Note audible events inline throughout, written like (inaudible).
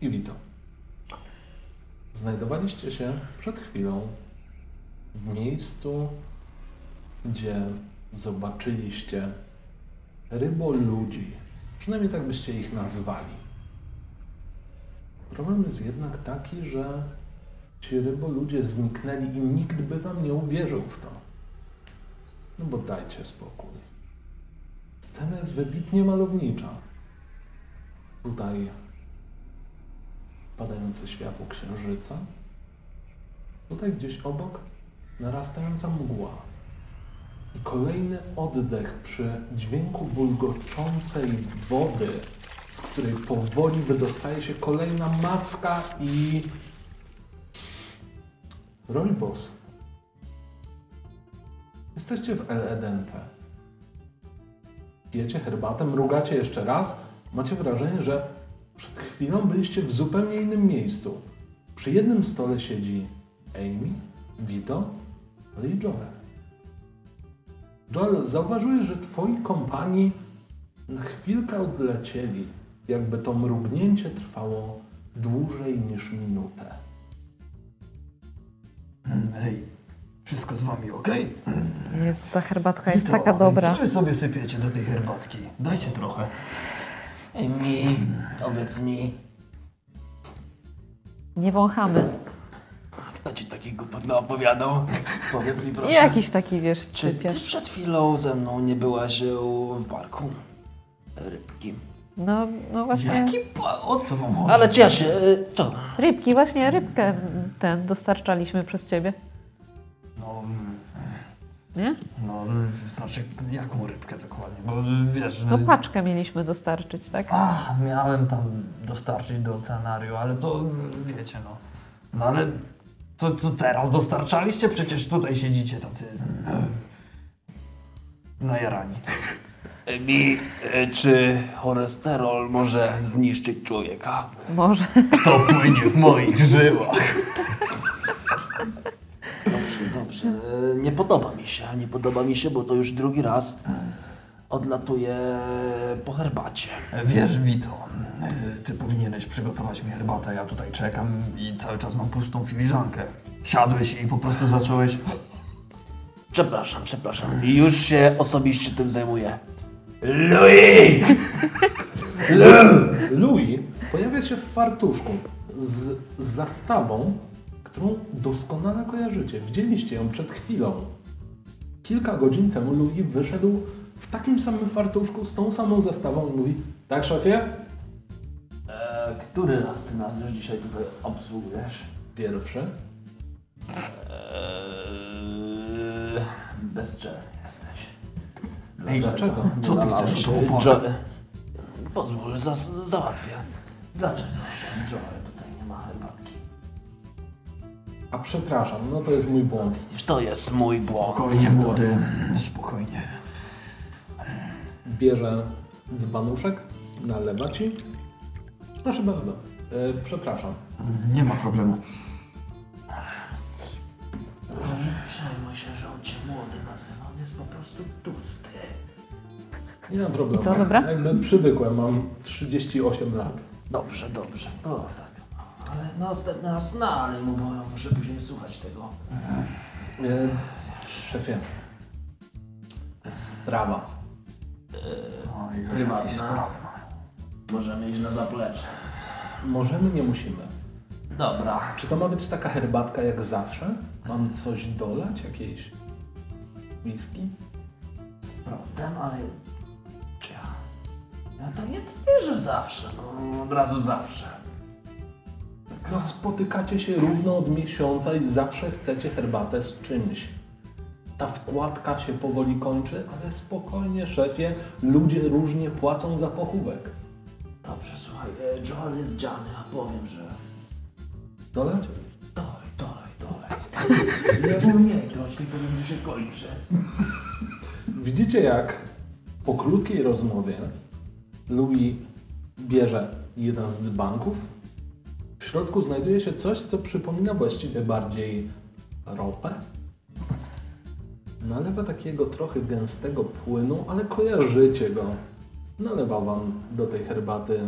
i witam. Znajdowaliście się przed chwilą w miejscu, gdzie zobaczyliście ryboludzi. Przynajmniej tak byście ich nazwali. Problem jest jednak taki, że ci ryboludzie zniknęli i nikt by wam nie uwierzył w to. No bo dajcie spokój. Scena jest wybitnie malownicza. Tutaj padające światło księżyca. Tutaj gdzieś obok narastająca mgła. I kolejny oddech przy dźwięku bulgoczącej wody, z której powoli wydostaje się kolejna macka i... Rojbos. Jesteście w El Edente. Pijecie herbatę, mrugacie jeszcze raz. Macie wrażenie, że przed chwilą byliście w zupełnie innym miejscu. Przy jednym stole siedzi Amy, Vito, ale i Joel. Joel, zauważyłeś, że twoi kompani na chwilkę odlecieli, jakby to mrugnięcie trwało dłużej niż minutę. Mm, Hej, wszystko z wami ok? Jezu, ta herbatka jest taka dobra. Co wy sobie sypiecie do tej herbatki? Dajcie trochę. Mi, powiedz mi, Nie wąchamy. kto ci taki głupot opowiadał? Powiedz mi proszę. Nie jakiś taki, wiesz, Czy ty typiarz. przed chwilą ze mną nie byłaś e, w barku? Rybki. No, no właśnie. Jaki pa... O co wam chodzi? Ale cieszę, e, to. Rybki, właśnie rybkę m, ten dostarczaliśmy przez ciebie. No, mm, Nie? no, znaczy jaką rybkę dokładnie? Bo wiesz... No paczkę mieliśmy dostarczyć, tak? A, miałem tam dostarczyć do oceanarium, ale to mm, wiecie no. No ale to, to teraz dostarczaliście? Przecież tutaj siedzicie tacy... e, no, Najarani. Mi, e, czy cholesterol może zniszczyć człowieka? Może. To płynie w moich żyłach. Dobrze, dobrze. E, Nie podoba mi się, nie podoba mi się, bo to już drugi raz odlatuję po herbacie. Wiesz, Wito, y, ty powinieneś przygotować mi herbatę. Ja tutaj czekam i cały czas mam pustą filiżankę. Siadłeś i po prostu zacząłeś. Przepraszam, przepraszam. Już się osobiście tym zajmuję. Louis! Louis pojawia się w fartuszku z zastawą, którą doskonale kojarzycie. Widzieliście ją przed chwilą. Kilka godzin temu Louis wyszedł w takim samym fartuszku z tą samą zastawą i mówi Tak szefie? E, który raz ty nas już dzisiaj tutaj obsługujesz? E, Pierwszy. Eee, bez czego jesteś. Ej, dlaczego? Co ty Nalałeś chcesz się od opony? Joel. Pozwól, za, załatwię. Dlaczego ten Joel tutaj nie ma herbatki? A przepraszam, no to jest mój błąd. Przecież to jest mój błąd. Spokojnie, młody, spokojnie. Bierze dzbanuszek, nalewa ci. Proszę bardzo. E, przepraszam. Nie ma problemu. Nie przejmuj się, że on cię młody nazywa. On jest po prostu tłusty. Nie ma problemu. I co, dobra? Jakby przywykłem, mam 38 lat. Dobrze, dobrze. To tak. Ale następny raz nalej mu, bo ja muszę później słuchać tego. E, szefie. Sprawa. O, już Prywatna. jakieś sprawy. Możemy iść na zaplecze. Możemy, nie musimy. Dobra. Czy to ma być taka herbatka jak zawsze? Mam coś dolać? Jakieś whisky? Z prądem, ale... Czy ja... Ja to nie twierzę zawsze. No, od razu zawsze. No spotykacie się równo od miesiąca i zawsze chcecie herbatę z czymś. Ta wkładka się powoli kończy, ale spokojnie, szefie, ludzie różnie płacą za pochówek. Dobrze, słuchaj. e, Joel jest dziany, a powiem, że... Dolać? Dolej, dolej, (laughs) dolej. Nie wolniej, troszkę, powiem, że się kończy. Widzicie, jak po krótkiej rozmowie Louis bierze jeden z dzbanków. W środku znajduje się coś, co przypomina właściwie bardziej ropę. Nalewa takiego trochę gęstego płynu, ale kojarzycie go. Nalewa wam do tej herbaty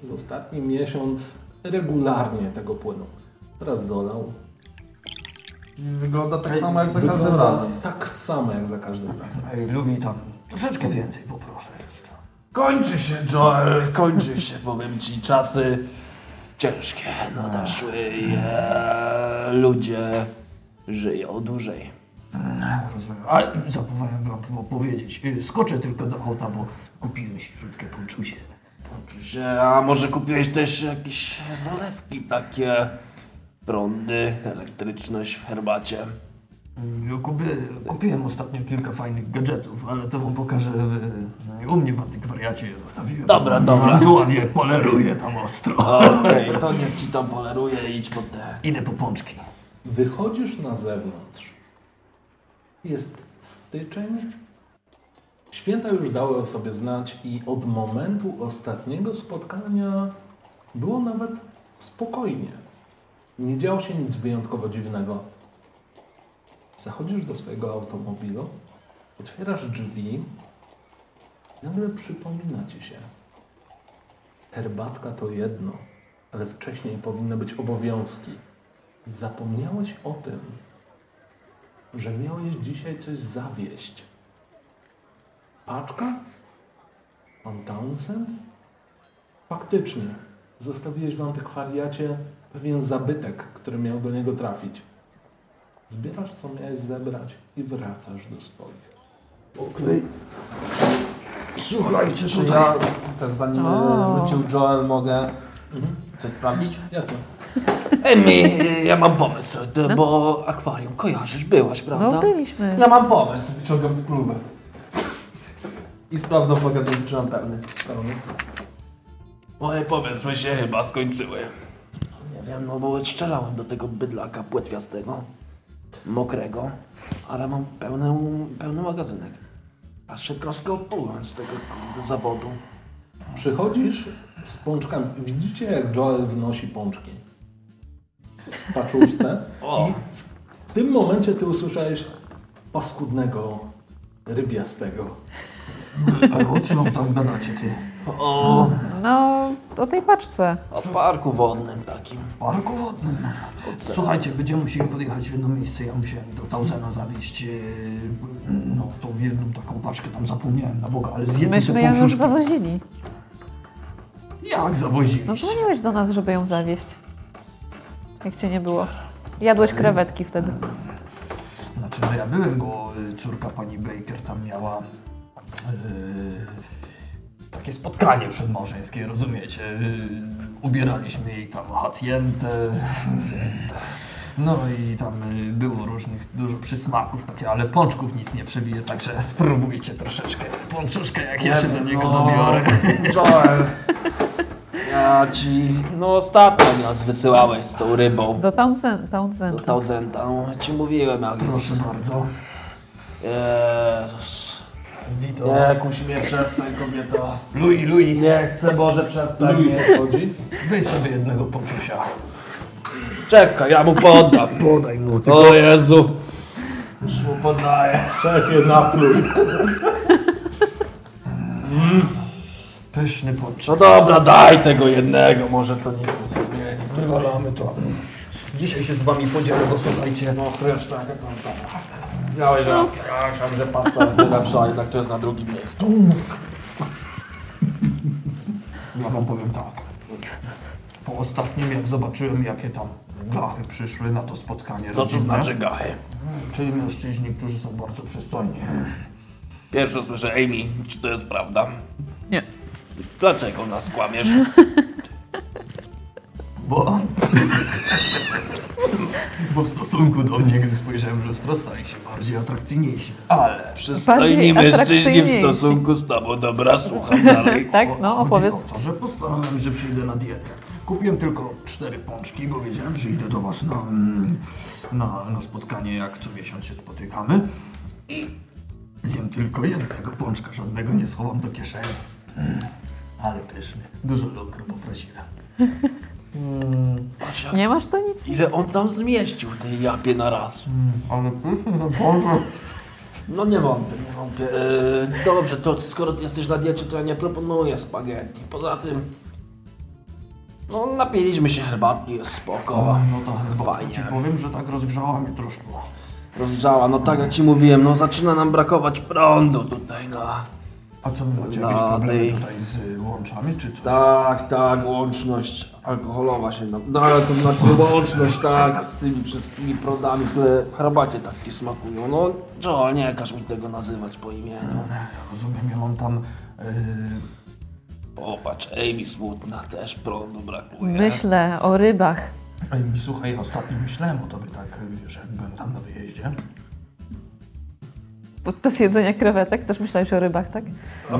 z ostatni miesiąc regularnie tego płynu. Teraz dolał. I wygląda tak samo jak za Wygląda- każdym razem. Tak samo jak za każdym razem. Ej, lubi tam troszeczkę więcej, poproszę jeszcze. Kończy się, Joel, kończy się, powiem ci, czasy ciężkie nadeszły i e, ludzie żyją dłużej. Rozumiem. A zapomniałem wam powiedzieć. y, Skoczę tylko do auta, bo kupiłem śrutkę ponczusie. Kończy się, a może kupiłeś też jakieś zalewki takie, prądy, elektryczność w herbacie. Ja Y, Kupię, kupiłem ostatnio kilka fajnych gadżetów, ale to wam pokażę w, u mnie w antykwariacie je zostawiłem. Dobra, dobra. Tu ładnie poleruję tam ostro. Okej, to niech ci tam poleruje i idź pod te. Idę po pączki. Wychodzisz na zewnątrz. Jest styczeń. Święta już dały o sobie znać i od momentu ostatniego spotkania było nawet spokojnie. Nie działo się nic wyjątkowo dziwnego. Zachodzisz do swojego automobilu, otwierasz drzwi, nagle przypomina ci się. Herbatka to jedno, ale wcześniej powinny być obowiązki. Zapomniałeś o tym, że miałeś dzisiaj coś zawieść. Paczka? Pan Townsend? Faktycznie. Zostawiłeś w antykwariacie pewien zabytek, który miał do niego trafić. Zbierasz, co miałeś zebrać i wracasz do swoich. Słuchajcie, Czy ja, tak zanim O. e, wrócił Joel, mogę Mhm. coś sprawdzić? Jasne. Emi, ja mam pomysł, ty, bo akwarium kojarzysz, byłaś, No prawda? byliśmy. Ja mam pomysł, wyciągam z kluby. I sprawdzam w magazynie, czy mam pełny. Pełny. Moje pomysły się chyba skończyły. Nie wiem, no bo strzelałem do tego bydlaka płetwiastego, mokrego, ale mam pełną, pełny magazynek. Aż się troszkę oplułem z tego kurde, zawodu. Przychodzisz z pączkami. Widzicie, jak Joel wnosi pączki w paczuszce. O. I w tym momencie ty usłyszałeś paskudnego rybiastego. O czym wam tam gadacie, ty? O, No, o tej paczce. o parku wodnym takim. W parku wodnym. Słuchajcie, będziemy musieli podjechać w jedno miejsce. Ja musiałem do Tausena zawieźć yy, no, tą jedną taką paczkę. Tam zapomniałem na Boga, ale zjedzmy Myśmy te ją już pączuszki. zawozili. Jak No zawoziliście? dzwoniłeś do nas, żeby ją zawieźć. Jak cię nie było. Jadłeś krewetki wtedy. Znaczy, że ja byłem, bo y, córka pani Baker tam miała y, takie spotkanie przedmałżeńskie, rozumiecie? Y, ubieraliśmy jej tam hacientę. No i tam y, było różnych dużo przysmaków, takie, ale pączków nic nie przebije, także spróbujcie troszeczkę pączuszkę, jak ja się do niego (laughs) dobiorę. Joel. Ja ci, no ostatnio nas wysyłałeś z tą rybą. Do Townsend, Do Townsenda. Tausenta, no, ci mówiłem jak Proszę jest. bardzo. Jezus. Witam. Tak. Nie, kuś mnie przestań kobieto. Louis, Louis, Nie chcę Boże przestań Louis mnie. podchodzi. weź sobie jednego pączusia. Czekaj, ja mu (laughs) podam. Podaj mu, ty O Jezu! Już mu podaję. Szefie, napluj. pyszny pączusz. No dobra, daj tego jednego, może to nic nie zmieni. Wywalamy to. Dzisiaj się z wami podzielę, bo słuchajcie, No chreszcza, jak tam tam. Miałeś rację, ja tam, że pasta jest najlepsza, ale tak to jest na drugim miejscu. ja wam powiem tak. Po ostatnim jak zobaczyłem jakie tam gachy przyszły na to spotkanie Co to rodzinne, znaczy gachy? czyli mężczyźni, którzy są bardzo przystojni. Pierwsze słyszę, Amy, czy to jest prawda? Nie. Dlaczego nas (laughs) kłamiesz? Bo... (laughs) bo w stosunku do mnie, gdy spojrzałem w lustro, stali się bardziej atrakcyjniejsi. Ale... Przystojni Bardziej mężczyźni w atrakcyjniejsi. stosunku z tobą. Dobra, słucham (laughs) dalej. Tak, no chodzi opowiedz. o to, że postanowiłem, że przyjdę na dietę. Kupiłem tylko cztery pączki, bo wiedziałem, że idę do was na, mm, na, na spotkanie, jak co miesiąc się spotykamy. I zjem tylko jednego pączka, żadnego nie schowam do kieszeni. Mm, Ale pyszny. Dużo lukru poprosiłem. Patrz, jak- Nie masz to nic? Ile on tam zmieścił tej japie na raz? Ale pyszny, no Boże. No nie wątpię, nie wątpię. Eee, dobrze, to skoro ty jesteś na diecie, to ja nie proponuję spaghetti. Poza tym, No, napiliśmy się herbatki, jest spoko. No to chyba Fajnie. ci powiem, że tak rozgrzała mnie troszkę. Rozgrzała, no tak jak ci mówiłem, no zaczyna nam brakować prądu tutaj, no. A co wy macie jakieś Na problemy tej- tutaj z łączami, czy co? Tak, tak, łączność alkoholowa się nam... No ale to znaczy łączność, tak, z tymi wszystkimi prądami, które W herbacie takie smakują, no. Joel, nie każ mi tego nazywać po imieniu. Rozumiem, ja mam tam... Yy, Popatrz, Amy smutna, też prądu brakuje. Myślę o rybach. Ej, mi słuchaj, ostatnio myślałem o tobie tak, wiesz, jak byłem tam na wyjeździe. Podczas jedzenia krewetek też myślałeś o rybach, tak?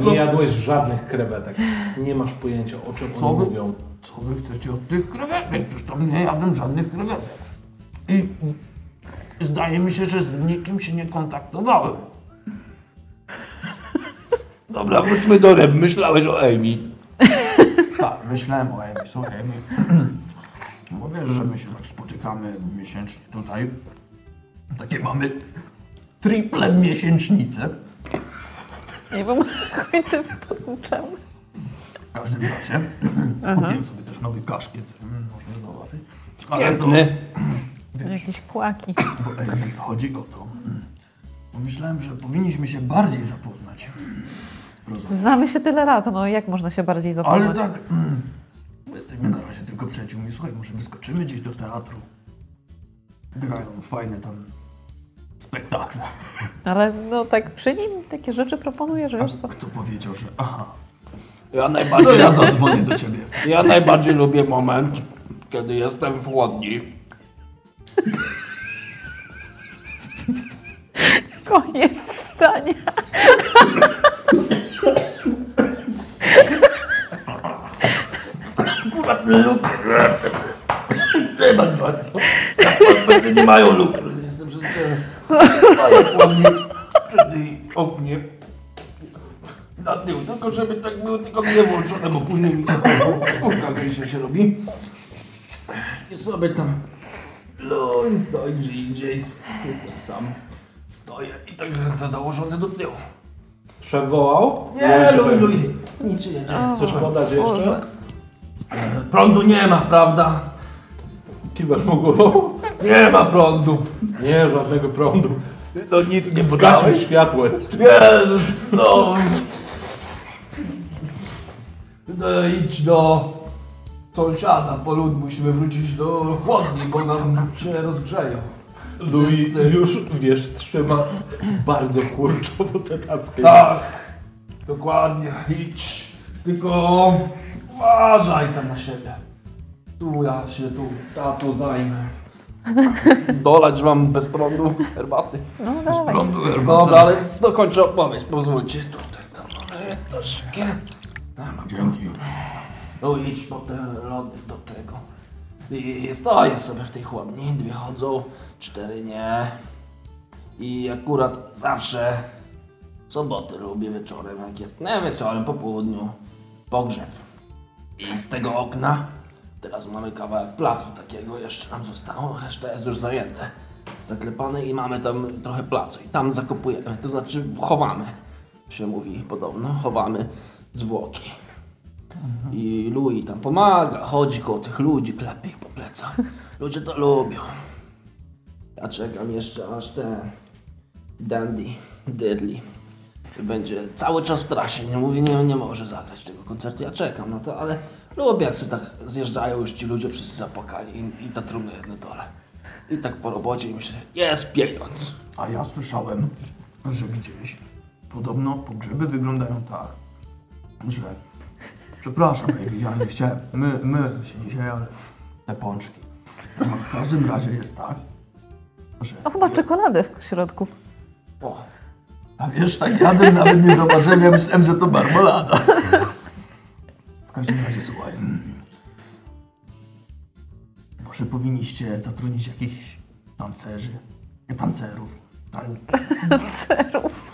Nie jadłeś żadnych krewetek. Nie masz pojęcia o czym Co oni wy- mówią. Co wy chcecie od tych krewetek? Przecież tam nie jadłem żadnych krewetek. I zdaje mi się, że z nikim się nie kontaktowałem. Dobra, wróćmy do ryb. Myślałeś o Amy. Tak, myślałem o Emi, słuchaj Emi. (clears throat) Bo wiesz, że my się tak spotykamy miesięcznie tutaj. Takie mamy triple miesięcznice. Nie wiem, (laughs) chuj tym potłuczem. W każdym razie (clears throat) kupiłem sobie też nowy kaszkiet, mm, można zobaczyć. Ale to- Piękny. Jakieś kłaki. Bo Emil, chodzi o to. Pomyślałem, że powinniśmy się bardziej zapoznać. Rozumiem. Znamy się tyle lat, no jak można się bardziej zapoznać? Ale tak. Mm, bo jesteśmy na razie tylko przyjaciółmi. Słuchaj, może wyskoczymy gdzieś do teatru. Grają fajne tam spektakle. Ale no tak przy nim takie rzeczy proponujesz, wiesz co? Kto powiedział, że. Aha, Ja to najbardziej, ja zadzwonię do ciebie. ja najbardziej lubię moment, kiedy jestem w chłodni. (laughs) Koniec zdania. Kiedy nie mają lukru. Jestem przed chłodni. Przed ognie. Na tył. Tylko żeby tak było tylko nie włączone, bo później mi kurka gęsia się robi. I sobie tam luj, stoi gdzie indziej. Jestem sam. Stoję i tak ręce założone do tyłu. Szef wołał? Nie, luj, luj. Nic się nie dzieje. Chcesz podać jeszcze? Boże. Prądu nie ma, prawda? Kiwasz mu głową? Nie ma prądu. Nie, żadnego prądu. No nic nie Zgasił światło. Jezus, no. no. Idź do sąsiada po lód. Musimy wrócić do chłodni, bo nam się rozgrzeją. Louis Wszyscy. już, wiesz, trzyma bardzo kurczowo te tacki. Tak, dokładnie. Idź. Tylko uważaj tam na siebie. Tu ja się tu tato zajmę. Dolać wam bez prądu herbaty. No dawaj. Dobra, ale dokończę opowieść, pozwólcie. Tutaj tam, ale troszkę. Tak, Dzięki. No idź po te lody do tego. I stoję sobie w tej chłodni, dwie chodzą, cztery nie. I akurat zawsze soboty lubię wieczorem, jak jest, nie wieczorem, po południu, pogrzeb. I z tego okna, teraz mamy kawałek placu takiego, jeszcze nam zostało, reszta jest już zajęte, zaklepane i mamy tam trochę placu i tam zakopujemy, to znaczy chowamy, się mówi podobno, chowamy zwłoki. I Louis tam pomaga, chodzi koło tych ludzi, klepie ich po plecach. Ludzie to lubią. Ja czekam jeszcze aż ten Dandy, Deadly będzie cały czas w trasie. Nie mówi, nie, nie może zagrać tego koncertu. Ja czekam na to, ale lubię jak sobie tak zjeżdżają już ci ludzie wszyscy zapłakani i, i ta trumna jest na dole. I tak po robocie i myślę, jest pieniądz. A ja słyszałem, że gdzieś podobno pogrzeby wyglądają tak, że przepraszam, baby, ja nie chciałem, my, my się dzisiaj, ale te pączki. No, w każdym razie jest tak, że No chyba czekoladę w środku. O, a wiesz, tak jadłem, nawet nie zauważyłem, ja myślałem, że to marmolada. W każdym razie, słuchaj, mm, może powinniście zatrudnić jakichś tancerzy, tancerów, tan- Cerów.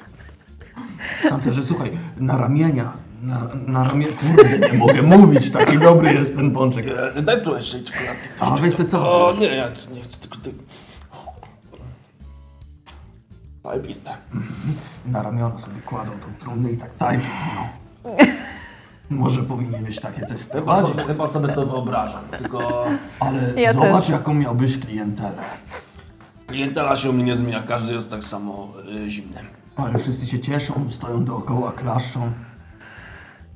Tancerze, słuchaj, na ramienia, na, na ramię... Kurde, nie mogę mówić, taki dobry jest ten pączek. e, daj tu jeszcze czekoladkę. A weź se co? O nie, ja nie chcę tylko ty. Zajebiste. Na ramiona sobie kładą tą trumnę i tak tańczą z nią. Może powinieneś takie coś Chyba wprowadzić, sobie, chyba sobie to wyobrażam, tylko ale Ja zobacz też. jaką miałbyś klientelę. klientela się u mnie nie zmienia, każdy jest tak samo y, zimny. Ale wszyscy się cieszą, stoją dookoła, klaszczą.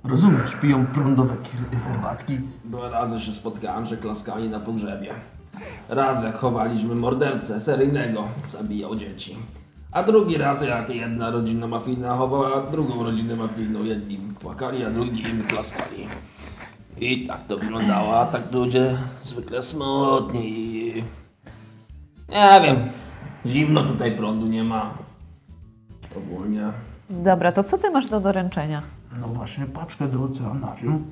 Rozumiesz, piją prądowe kir- herbatki. Dwa razy się spotkałem, że klaskali na pogrzebie. Raz jak chowaliśmy mordercę seryjnego, zabijał dzieci. A drugi raz jak jedna rodzina mafijna chowała drugą rodzinę mafijną. Jedni płakali, a drugi im klaskali. I tak to wyglądało, a tak ludzie zwykle smutni i... Nie wiem, zimno tutaj prądu nie ma. Ogólnie. Dobra, to co ty masz do doręczenia? No właśnie, paczkę do oceanarium.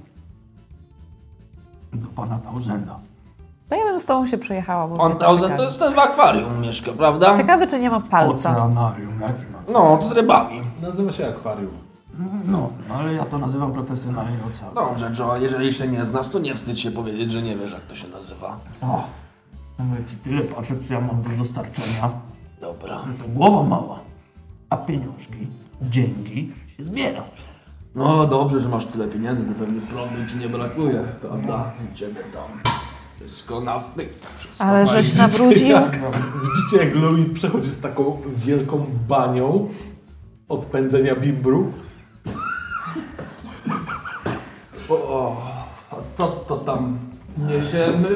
Do pana Tausenda. To No ja bym z tobą się przyjechała, bo On mnie tam, czekali. to jest ten w akwarium mieszka, prawda? Ciekawe, czy nie ma palca. Oceanarium, jaki ma? No, z rybami. Nazywa się akwarium. No, ale ja to nazywam profesjonalnie oceanarium. Dobrze, Joe, jeżeli się nie znasz, to nie wstydź się powiedzieć, że nie wiesz, jak to się nazywa. O, mówię ci tyle paczek, co ja mam do dostarczenia. Dobra. To głowa mała, a pieniążki, dzięki się zbiera. No dobrze, że masz tyle pieniędzy, to pewnie prądu ci nie brakuje, prawda? Ciebie tam. Wszystko na styk. Wszystko Ale fajnie. żeś (laughs) nabrudził. Widzicie, jak Louis przechodzi z taką wielką banią od pędzenia bimbru? O, a to, to tam Niesiemy.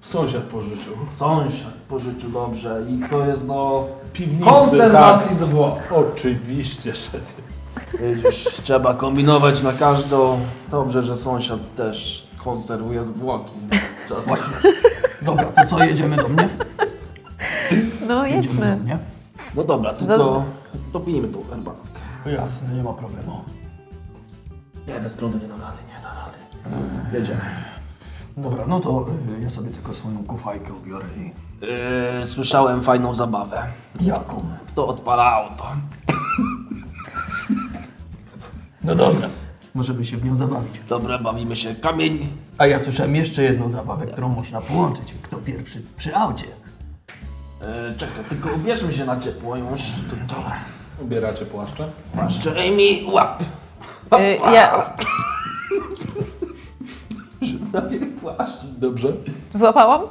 Sąsiad pożyczył. sąsiad pożyczył dobrze i to jest no, do Piwnicy, konserwacji tak. tak. Włoch. Oczywiście, szefie. Widzisz, (laughs) trzeba kombinować na każdą. Dobrze, że sąsiad też konserwuje zwłoki. Czasem. Dobra, to co, jedziemy do mnie? No Jedziemy do jedźmy. mnie? No dobra, tylko dopijmy tą herbatkę. No Jasne, nie ma problemu. Nie, bez prądu nie dam rady, nie dam rady. Jedziemy. Dobra, no to y, ja sobie tylko swoją kufajkę ubiorę i... Yy, słyszałem fajną zabawę. Jaką? To odpala auto. No dobra. Możemy się w nią zabawić. Dobra, bawimy się kamień. A ja słyszałem jeszcze jedną zabawę, którą można połączyć. Kto pierwszy przy aucie? Yy, czekaj, tylko ubierzmy się na ciepło już. To, to. Ubieracie płaszcze? Płaszcze Amy, łap! Y, Ja Płaszcz. Dobrze. złapałam? (laughs)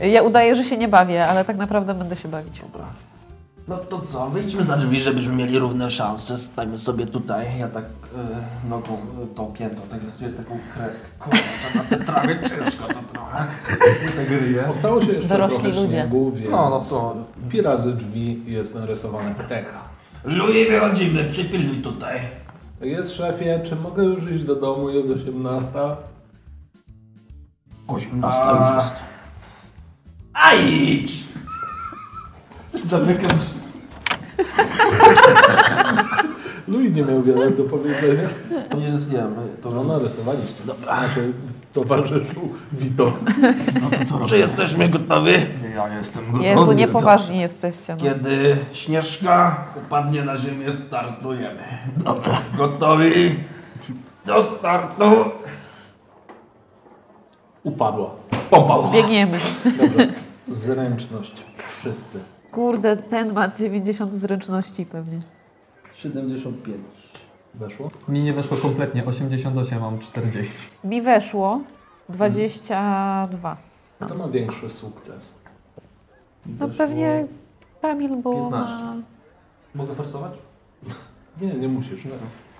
Ja udaję, że się nie bawię, ale tak naprawdę będę się bawić. No to co, wyjdźmy za drzwi, żebyśmy mieli równe szanse. Stajmy sobie tutaj. Ja tak yy, nogą yy, tą piętą, tak rysuję taką kreskę. Kurczę, na te trawy ciężko to trochę. Tak ryje. Ostało się jeszcze Dorośli trochę ludzie. śniegu, więc No, no co. pi razy drzwi jest narysowana krecha. Louis, wychodzimy, przypilnuj tutaj. Jest szefie, czy mogę już iść do domu? Jest 18. 18 A. już jest. A idź! Zamykam się. Louis nie miał wiele do powiedzenia. Nie, nie, to No narysowaliście. Dobra. Znaczy towarzyszu Wito. No to co Czy robię? jesteśmy gotowi? Ja jestem gotowy. Jezu, niepoważni jesteście. No. Kiedy Śnieżka upadnie na ziemię, startujemy. Dobra. Gotowi do startu. Upadła. Popadła. Biegniemy. Dobrze. Zręczność. Wszyscy. Kurde, ten ma 90 zręczności pewnie. 75. Weszło? Mi nie weszło kompletnie, 88 mam 40. Mi weszło 22. To ma większy sukces. No pewnie Kamil, bo ma... Mogę forsować? Nie, nie musisz. No,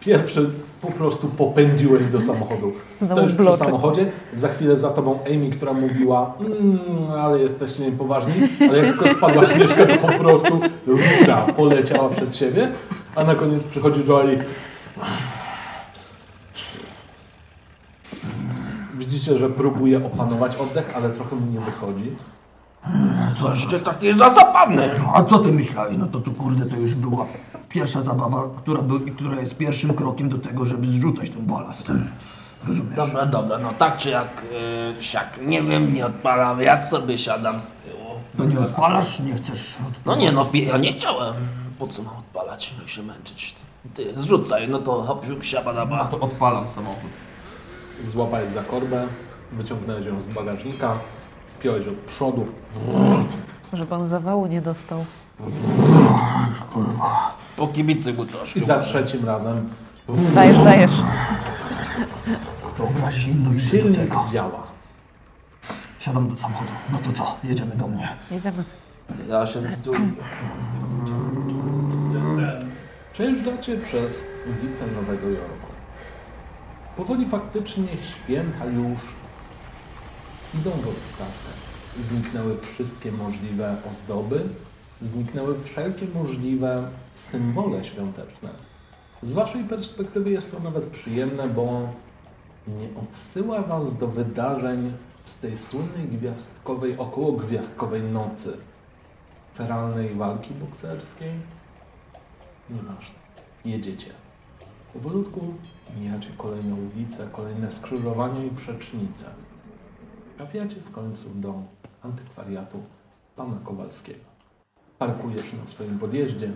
Pierwszy po prostu popędziłeś do samochodu. Znowu Stoisz przy bloczek. samochodzie, za chwilę za tobą Amy, która mówiła mmm, ale jesteście niepoważni, ale jak tylko spadła śnieżka, to po prostu rura poleciała przed siebie, a na koniec przychodzi Joali. Widzicie, że próbuje opanować oddech, ale trochę mu nie wychodzi. No To jeszcze takie zasapadne. A co ty myślałeś? No to tu kurde, to już była pierwsza zabawa, która, był, która jest pierwszym krokiem do tego, żeby zrzucać ten balast. Rozumiesz? Dobra, dobra, no tak czy jak, yy, siak, nie wiem, nie odpalam, ja sobie siadam z tyłu. To nie odpalasz? Nie chcesz No odpalać? nie no, ja nie chciałem. Po co mam odpalać, no i się męczyć? Ty, zrzucaj, no to hop, siup, siabadaba. To odpalam samochód. Złapałeś za korbę, wyciągnąłeś ją z bagażnika, wpiąłeś od przodu, Żeby on zawału nie dostał. Po kibicy mu troszkę. I za trzecim razem Dajesz, dajesz. Dobra, zimno idę do Silnik tego. działa. Siadam do samochodu. No to co? Jedziemy do mnie. Jedziemy. Ja się tu... Przejeżdżacie przez ulicę Nowego Jorku. Powoli faktycznie święta już idą w odstawkę. Zniknęły wszystkie możliwe ozdoby, zniknęły wszelkie możliwe symbole świąteczne. Z waszej perspektywy jest to nawet przyjemne, bo nie odsyła was do wydarzeń z tej słynnej gwiazdkowej, około gwiazdkowej nocy, feralnej walki bokserskiej, Nieważne. Jedziecie. Powolutku mijacie kolejne ulice, kolejne skrzyżowania i przecznice. Trafiacie w końcu do antykwariatu pana Kowalskiego. Parkujesz na swoim podjeździe.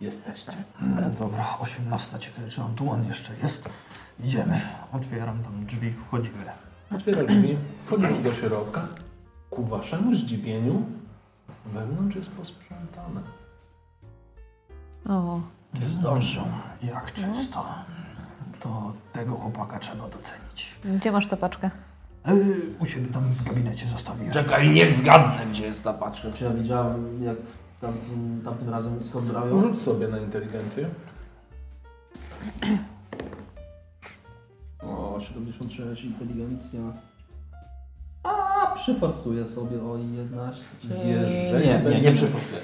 Jesteście. Mm, Dobra, 18. Ciekawe, czy on tu on jeszcze jest. Idziemy. Otwieram tam drzwi, wchodzimy. Otwierasz drzwi, wchodzisz do środka. Ku waszemu zdziwieniu wewnątrz jest posprzątane. O, Ty zdążą. Jak czysto. To tego chłopaka trzeba docenić. gdzie masz tę paczkę? Yy, u siebie tam w gabinecie zostawiłem. Czekaj, niech zgadnę, gdzie jest ta paczka. Czy ja widziałem, jak tamtym, tamtym razem skąd brał No. ją? Rzuć sobie na inteligencję. O, 76, inteligencja. A, przyforsuję sobie o 11. Jeżeli nie, nie, nie będziesz- przyforsuję.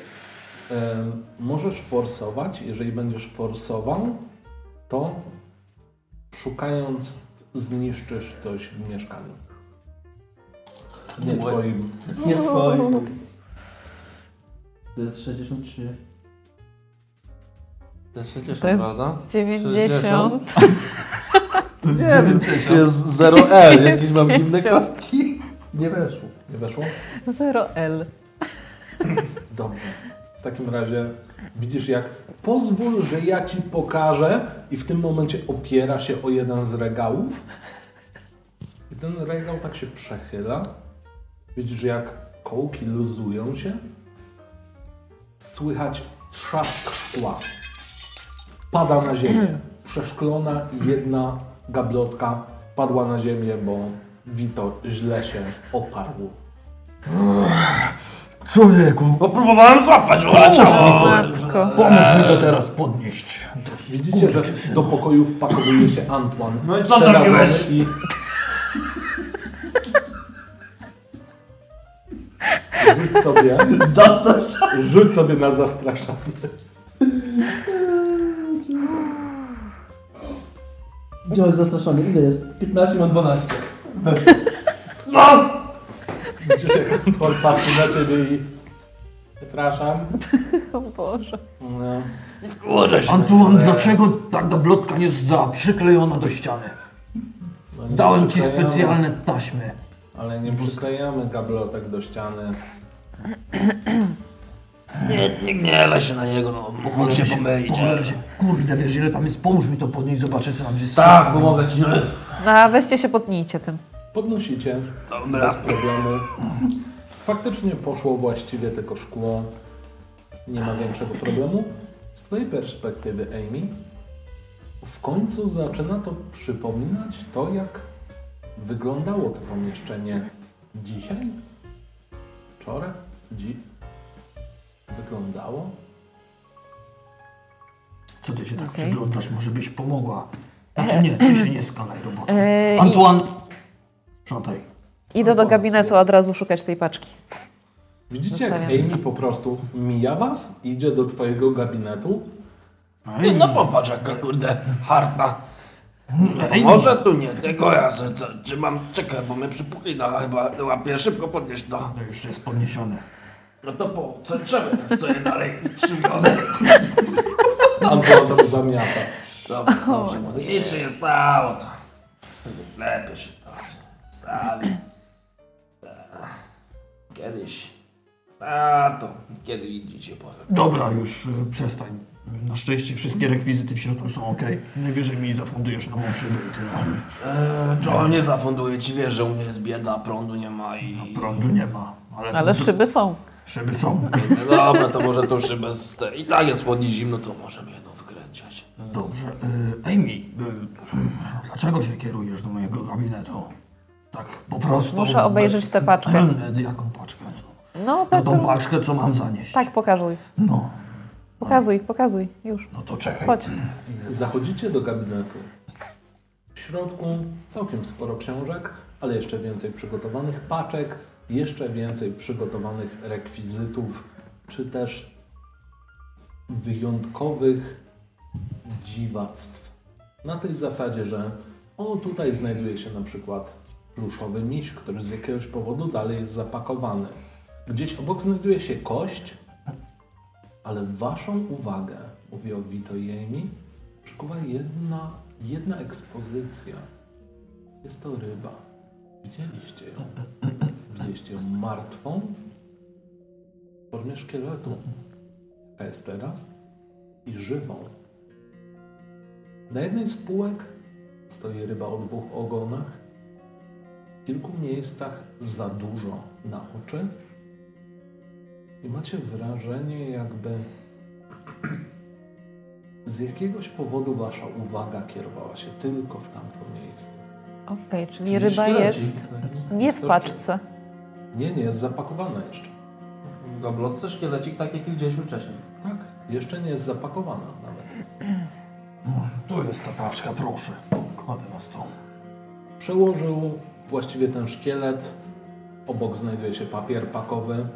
Em, Możesz forsować, jeżeli będziesz forsował, to szukając zniszczysz coś w mieszkaniu. Nie twoim. Nie twoje. To jest 63. To jest 60, To jest Eee. prawda? 90. To jest jest 0L, jakieś mam dziwne kostki. Nie weszło. Nie weszło? 0L. Dobrze. W takim razie widzisz jak pozwól, że ja ci pokażę i w tym momencie opiera się o jeden z regałów. I ten regał tak się przechyla. Widzisz jak kołki luzują się. Słychać trzask szkła. Pada na ziemię. Przeszklona jedna gablotka padła na ziemię, bo Wito źle się oparł. Człowieku, Bo próbowałem złapać, ale O, ciało. matko. pomóż mi Eee. to teraz podnieść. Widzicie, że do pokoju wpakowuje się Antoine. No i co Przerażony zrobiłeś? I... Rzuć sobie, Zastrasz. rzuć sobie na zastraszanie. Działaj zastraszony, ile jest? 15, mam 12. No! Widzisz, jak Antoine patrzy na ciebie i... Przepraszam. O Boże. No. Wkurzę się. Antuan, dlaczego ta gablotka nie jest za przyklejona do ściany? No nie Dałem ci przyklejamy, specjalne taśmy. Ale nie przyklejamy gablotek do ściany. Nie, nie gniewaj się na niego, no. Mógł się pomylić. Cholera się, kurde, wiesz ile tam jest? Pomóż mi to podnieść, zobaczę co tam jest. Tak, pomogę ci. No. No, a weźcie się, podnijcie tym. Podnosicie bez Dobra. problemu. Faktycznie poszło właściwie tylko szkło. Nie ma większego problemu. Z Twojej perspektywy, Amy, w końcu zaczyna to przypominać to, jak wyglądało to pomieszczenie dzisiaj, wczoraj, dziś. Wyglądało? Co ty się tak Okej. przyglądasz? Może byś pomogła? Znaczy nie, ty się nie skalaj robota. Eee, Antuan, sprzątaj. Idę do gabinetu od razu szukać tej paczki. Widzicie, jak Zostawiam. Amy po prostu mija Was, idzie do Twojego gabinetu. Ty, no popatrz jaka kurde harta. Ej, Może tu nie, tego ja se- co, czy mam, czekaj, bo my przypuklina chyba łapie, szybko podnieść to. To już jest podniesione. No to po, co trzeba, ja stoję dalej skrzywiony. Albo tam zamiata. Dobra, (laughs) dobrze, bo nic się nie stało to. Lepiej się to stawi. Tak. Kiedyś, a to, kiedy widzicie powiem. Dobra, już y, przestań. Na szczęście wszystkie rekwizyty w środku są ok. Najwyżej mi zafundujesz nową szybę i tyle. Eee, Joe nie zafunduje ci, wiesz, że u mnie jest bieda, prądu nie ma No i... Prądu nie ma. Ale, Ale to- szyby są. Szyby są. Dobra, to może tą szybę z... I tak jest chłodnie zimno, to możemy jedną wykręcać. Dobrze. Y, Amy, y, dlaczego się kierujesz do mojego gabinetu? Tak po prostu. Muszę obejrzeć tę paczkę. Y, Jaką paczkę? No, No tak, tą paczkę, co mam zanieść. tak, pokazuj. No, Pokazuj, pokazuj, już. no to czekaj. Chodź. Zachodzicie do gabinetu. W środku całkiem sporo książek, ale jeszcze więcej przygotowanych paczek, jeszcze więcej przygotowanych rekwizytów, czy też wyjątkowych dziwactw. Na tej zasadzie, że o tutaj znajduje się na przykład pluszowy miś, który z jakiegoś powodu dalej jest zapakowany. Gdzieś obok znajduje się kość, ale waszą uwagę, mówię o Vito i Amy, przykuwa jedna, jedna ekspozycja. Jest to ryba. Widzieliście ją. Widzieliście ją martwą w formie szkieletu. Jaka jest teraz? I żywą. Na jednej z półek stoi ryba o dwóch ogonach. W kilku miejscach za dużo na oczy. I macie wrażenie, jakby z jakiegoś powodu wasza uwaga kierowała się tylko w tamto miejsce. tak? Okej, czyli ryba jest nie w paczce. Nie, nie, jest zapakowana jeszcze. Gablotce szkielecik tak, jaki widzieliśmy wcześniej. Tak, jeszcze nie jest zapakowana nawet. Tu jest ta paczka, proszę. Kładę na stół. Przełożył właściwie ten szkielet. Obok znajduje się papier pakowy.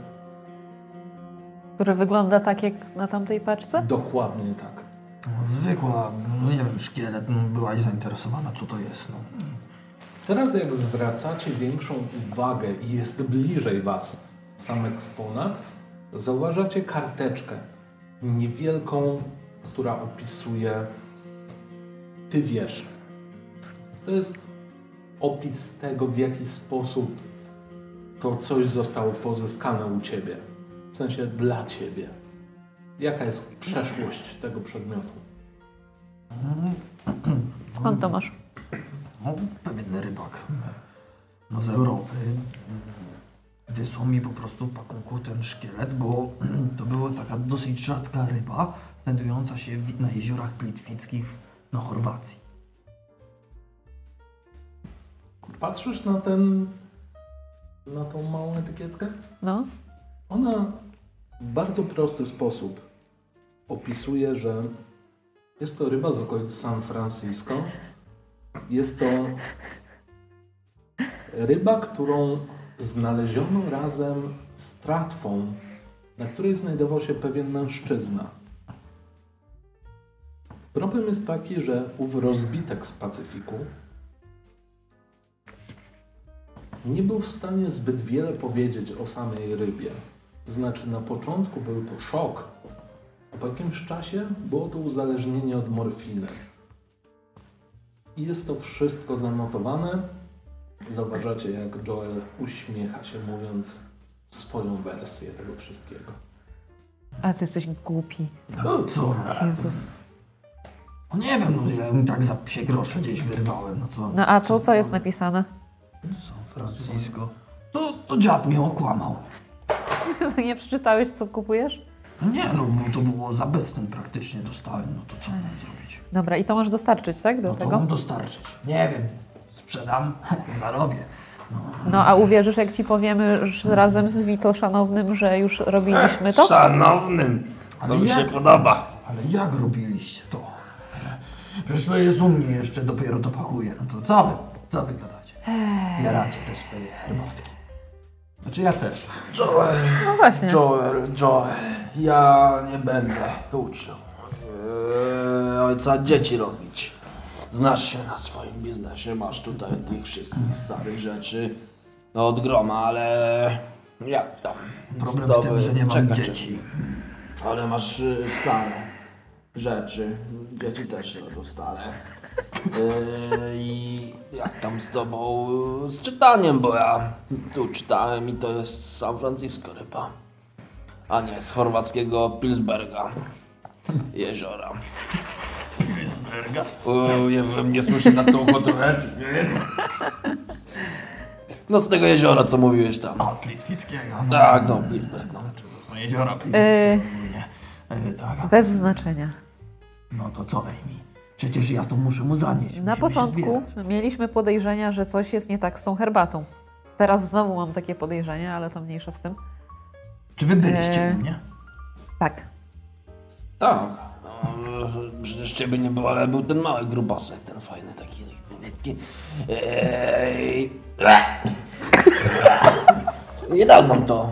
Który wygląda tak jak na tamtej paczce? Dokładnie tak. Zwykła, no nie wiem, szkielet. no Byłaś zainteresowana, co to jest. No. Teraz jak zwracacie większą uwagę i jest bliżej Was sam eksponat, zauważacie karteczkę niewielką, która opisuje Ty wiesz. To jest opis tego, w jaki sposób to coś zostało pozyskane u Ciebie. W sensie dla Ciebie. Jaka jest przeszłość tego przedmiotu? Skąd to masz? No, pewien rybak no, z Europy wysłał mi po prostu w pakunku ten szkielet, bo (clears throat) to była taka dosyć rzadka ryba, znajdująca się w, na jeziorach plitwickich na Chorwacji. Patrzysz na ten, na tą małą etykietkę? No, Ona w bardzo prosty sposób opisuje, że jest to ryba z okolic San Francisco. Jest to ryba, którą znaleziono razem z tratwą, na której znajdował się pewien mężczyzna. Problem jest taki, że ów rozbitek z Pacyfiku nie był w stanie zbyt wiele powiedzieć o samej rybie. Znaczy, na początku był to szok, a po jakimś czasie było to uzależnienie od morfiny. I jest to wszystko zanotowane. Zauważacie, jak Joel uśmiecha się, mówiąc swoją wersję tego wszystkiego. ale ty jesteś głupi. Co? Jezus. No, nie wiem, no, ja ją tak za psie grosze gdzieś wyrwałem, no co? No a tu co jest napisane? (laughs) San Francisco. To, to dziad mnie okłamał. Nie przeczytałeś, co kupujesz? Nie no, no to było za bezcen praktycznie dostałem, no to co mam zrobić? Dobra, i to masz dostarczyć, tak? Do No to tego? mam dostarczyć. Nie wiem, sprzedam, (laughs) zarobię. No a uwierzysz, jak ci powiemy że razem z Wito Szanownym, że już robiliśmy to? Szanownym, to Ale mi się jak? podoba. Ale jak robiliście to? Przecież to jest u mnie jeszcze, dopiero to pakuje. No to co wy, co wy gadacie? Jaracie te swoje herbatki. Znaczy ja też. Joel, No właśnie. Joel, Joel, ja nie będę uczył eee, ojca dzieci robić. Znasz się na swoim biznesie, masz tutaj tych wszystkich starych rzeczy no od groma, ale jak tam? Problem Zdoby- w tym, że nie mam czekaj, dzieci. czekaj. Ale masz y, stare rzeczy, dzieci też robią stare. Y, I jak tam z tobą y, z czytaniem, bo ja tu czytałem i to jest z San Francisco ryba, a nie z chorwackiego Pilsberga jeziora. O, ja bym nie słyszę na tą hodowę. No z tego jeziora, co mówiłeś tam. A, Plitwickiego. No, Tak, no, Bilberg, no. E. Jeziora Plitwickiego. Yy, ogólnie. Yy, tak. bez znaczenia. No to co, Amy? Przecież ja to muszę mu zanieść. Na musimy się początku zbierać. mieliśmy podejrzenia, że coś jest nie tak z tą herbatą. Teraz znowu mam takie podejrzenia, ale to mniejsza z tym. Czy wy byliście Eee. u mnie? Tak. Tak. No, przecież ciebie nie było, ale był ten mały grubasek, ten fajny taki. taki Ej. Nie dał nam to.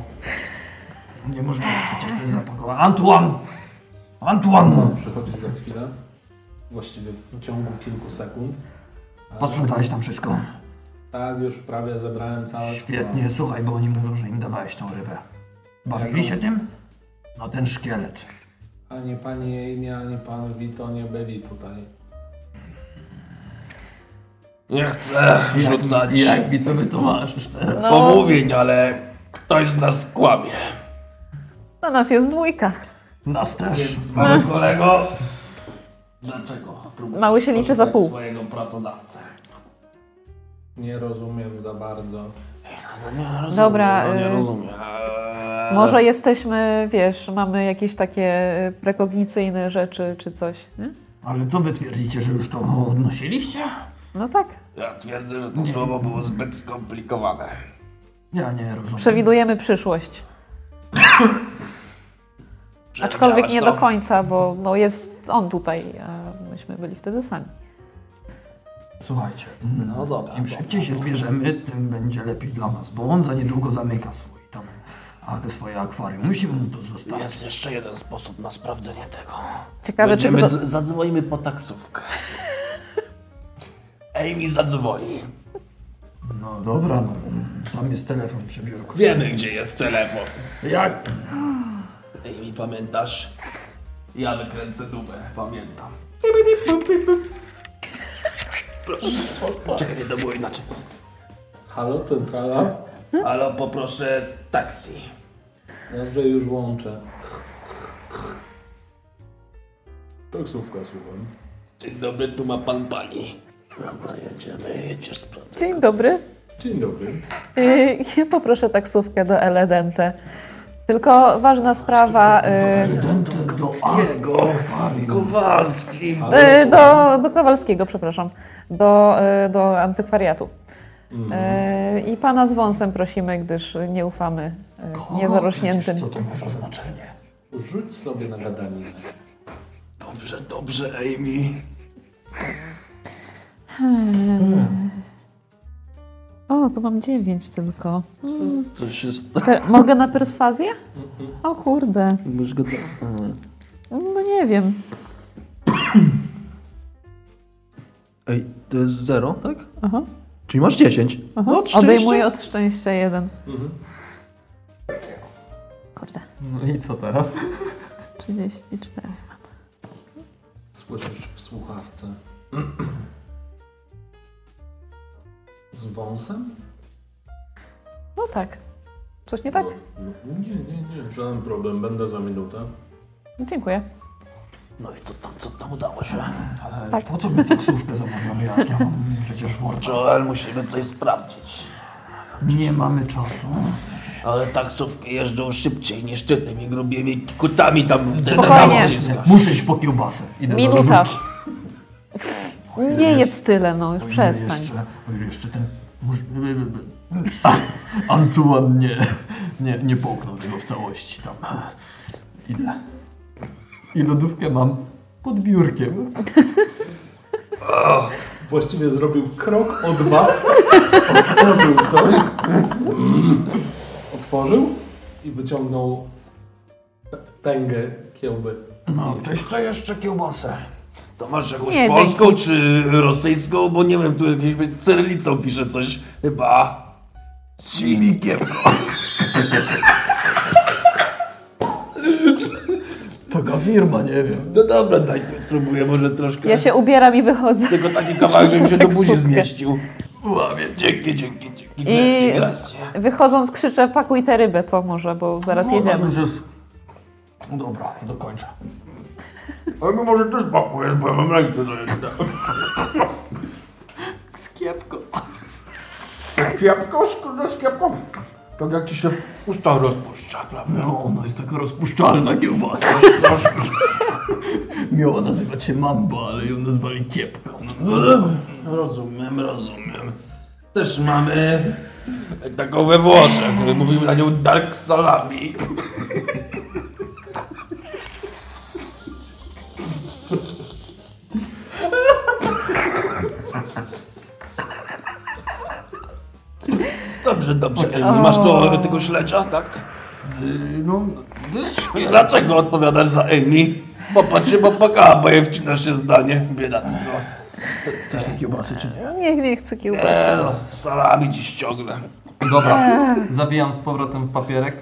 Nie można, przecież to jest zapakowane. Antoine! Antoine! Przychodzi za chwilę, właściwie w ciągu kilku sekund. A- Posprzątałeś tam wszystko. Tak, już prawie zebrałem całe. Świetnie, słuchaj, bo oni mówią, że im dawałeś tą rybę. Bawili się tym? No ten szkielet. Ani pani Amy, ani pan Vito nie byli tutaj. Nie chcę rzucać Jak mi to wytłumaczysz teraz? pomówień, ale ktoś z nas kłamie. Na nas jest dwójka. Nas też. Mały kolego. Dlaczego? próbujesz Mały się liczy za oszukać pół. swojego pracodawcę. Nie rozumiem za bardzo. No nie rozumiem. Dobra, No nie y, rozumiem. Może jesteśmy, wiesz, mamy jakieś takie y, prekognicyjne rzeczy czy coś, nie? Ale to wy twierdzicie, że już to odnosiliście? No tak. Ja twierdzę, że to słowo było zbyt skomplikowane. Ja nie rozumiem. Przewidujemy przyszłość. Aczkolwiek nie do Przewidziałeś to? końca, bo no, jest on tutaj, a myśmy byli wtedy sami. Słuchajcie, No dobra. im szybciej się zbierzemy, tym będzie lepiej dla nas, bo on za niedługo zamyka swój tam, a swoje akwarium. Musimy mu to zostawić. Jest jeszcze jeden sposób na sprawdzenie tego. Ciekawe, czy Będziemy, kto... z- Zadzwonimy po taksówkę. Amy zadzwoni. No dobra, no, tam jest telefon przy biurku. Wiemy, gdzie jest telefon. Jak? Amy, pamiętasz? Ja wykręcę dubę, pamiętam. Proszę. Czekaj, nie, to było inaczej. Halo, centrala? Ale poproszę z taksi. Dobrze, już łączę. Taksówka, słucham. Dzień dobry, tu ma pan pani. Dobra, jedziemy, jedziesz, sprawdzę. Dzień dobry. Dzień dobry. Y, (laughs) Ja poproszę taksówkę do El Dente. Tylko ważna sprawa y, Dente do jego akwarium. no, Kowalski. y, do, do Kowalskiego, przepraszam, do, y, do antykwariatu. Mhm. Y, I pana z wąsem prosimy, gdyż nie ufamy y, niezarośniętym. Przecież Co to ma za znaczenie? Rzuć sobie na gadaninę. Dobrze, dobrze, Amy. O, tu mam dziewięć tylko. Co się stało? Te, mogę na perswazję? O kurde, Mhm. Możesz go no nie wiem. Ej, to jest 0, tak? Aha, Czyli masz 10. aha. No, od Odejmuję od szczęścia jeden. Kurde, No i co teraz? 34. Słyszysz w słuchawce. Z wąsem? No tak. Coś nie tak? No, nie, nie, nie, żaden problem, będę za minutę. No, dziękuję. No i co tam, co tam udało się? Ale Tak. E, po co my taksówkę zamawiamy, jak ja mam przecież worcza? Joel, musimy coś sprawdzić. Nie mamy czasu. Ale taksówki jeżdżą szybciej niż ty tymi grubymi kutami tam w Spokojnie. Muszę iść po kiełbasę. no, Idę do Minuta. lodówki. Nie jedz tyle, no już O ile przestań. Jeszcze, o ile jeszcze ten... (laughs) Może... A, Antoine nie, nie, nie połknął tego w całości tam. Idę. I lodówkę mam pod biurkiem. Właściwie zrobił krok od was, otworzył coś, otworzył i wyciągnął tęgę kiełby. No, ktoś co jeszcze kiełbasę? To masz jakąś Nie, polską czy rosyjską? Bo nie wiem, tu jakieś cyrylicą pisze coś. Chyba z silnikiem. (laughs) Taka firma, nie wiem. No dobra, daj tu spróbuję może troszkę. Ja się ubieram i wychodzę. Tylko taki kawałek, żeby To się do buzi taksówkę. zmieścił. Łamie, dzięki, dzięki, dzięki. I Gracie, gracie. wychodząc krzyczę, pakuj tę rybę, co może, bo zaraz No, jedziemy. już jest. Dobra, dokończę. Ale my może też pakujesz, bo ja mam rękę zajęte. Z kiepką. Kiepko, skórę no z kiepką. Tak jak ci się w ustach rozpuszcza, prawda? No, ona jest taka rozpuszczalna kiełbasa. Proszę. Miała nazywać się Mamba, ale ją nazwali Kiepką. Rozumiem, rozumiem. Też mamy taką Tak, we Włoszech. Mówimy na nią Dark Salami. Dobrze, dobrze. Masz to tego śledzia, tak? Yy, No, to jest Dlaczego odpowiadasz za Amy? Bo patrzy, bo paka, bo je wcinasz się zdanie. No. Biedactwo. Chcesz tej kiełbasy czy nie? Nie, nie chcę Eee, kiełbasy. no, salami dziś ciągle. Dobra, zabijam z powrotem w papierek.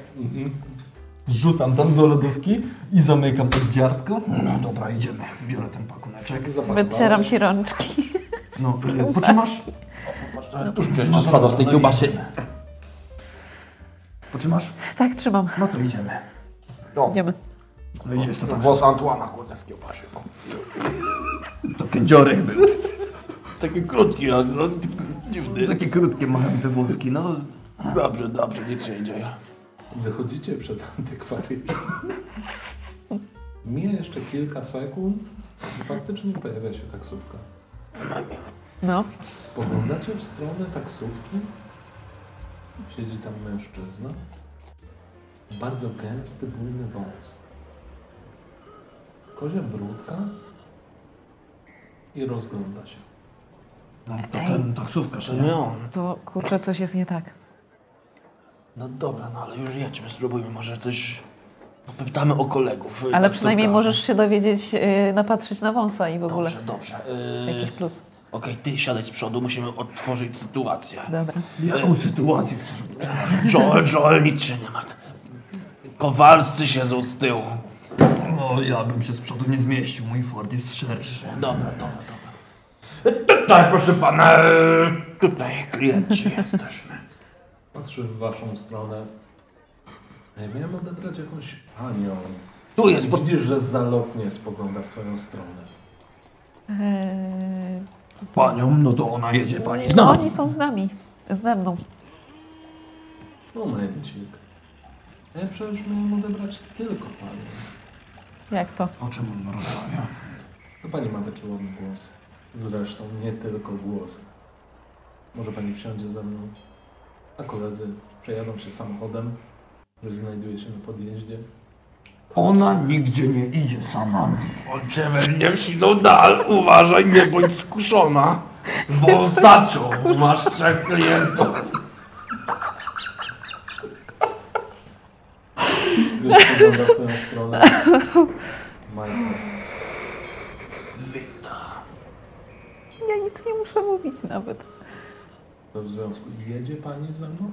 Rzucam tam do lodówki i zamykam pod dziarsko. No dobra, idziemy. Biorę ten pakuneczek. Wycieram ci rączki. (laughs) No, yy, potrzymasz? No, Jeszcze spada z tej kiełbasy. Potrzymasz? Tak, trzymam. No to idziemy. Idziemy. No idzie, jest to tak. Włos Antuana, kurde, w kiełbasie. To kędziorek był. Taki krótki, a no, dziwny. Takie krótkie mają te włoski, no. Dobrze, dobrze, nic się nie dzieje. Wychodzicie przed antykwariat. Mija jeszcze kilka sekund i faktycznie pojawia się taksówka. No. Spoglądacie w stronę taksówki. Siedzi tam mężczyzna. Bardzo gęsty, bujny wąs. Kozia brudka i rozgląda się. No to ten taksówkarz, nie? Nie on. To kurczę, coś jest nie tak. No dobra, no ale już jedźmy, spróbujmy, może coś... Popytamy o kolegów. y, Ale taksówka. przynajmniej możesz się dowiedzieć, yy, napatrzeć na wąsa i w ogóle. Dobrze, dobrze. Yy, Jakiś plus. Okej, ty siadaj z przodu, musimy odtworzyć sytuację. Dobra. Jaką sytuację chcesz Joel, Joel, nic się nie martw. Kowalscy siedzą z tyłu. No ja bym się z przodu nie zmieścił, mój Ford jest szerszy. Dobra, dobra, dobra. Tutaj, proszę pana, y, tutaj klienci jesteśmy. Patrzy w waszą stronę. Ja miałem odebrać jakąś panią. Tu jest, pod... Widzisz, że zalotnie spogląda w twoją stronę. Eee, Panią, no to ona jedzie, pani no. zna. Oni są z nami. Ze mną. Momencik. Ja przecież miałem odebrać tylko panią. Jak to? O czym on rozmawia? To No pani ma taki ładny głos. Zresztą nie tylko głos. Może pani wsiądzie ze mną, a koledzy przejadą się samochodem, który znajduje się na podjeździe. Ona nigdzie nie idzie sama. Ojciec, nie wsiną dal, uważaj, nie bądź skuszona. Wąsaczu, masz trzech klientów. Gość spogląda w twoją stronę. Michael. Ja nic nie muszę mówić nawet. To w związku. Jedzie pani ze mną?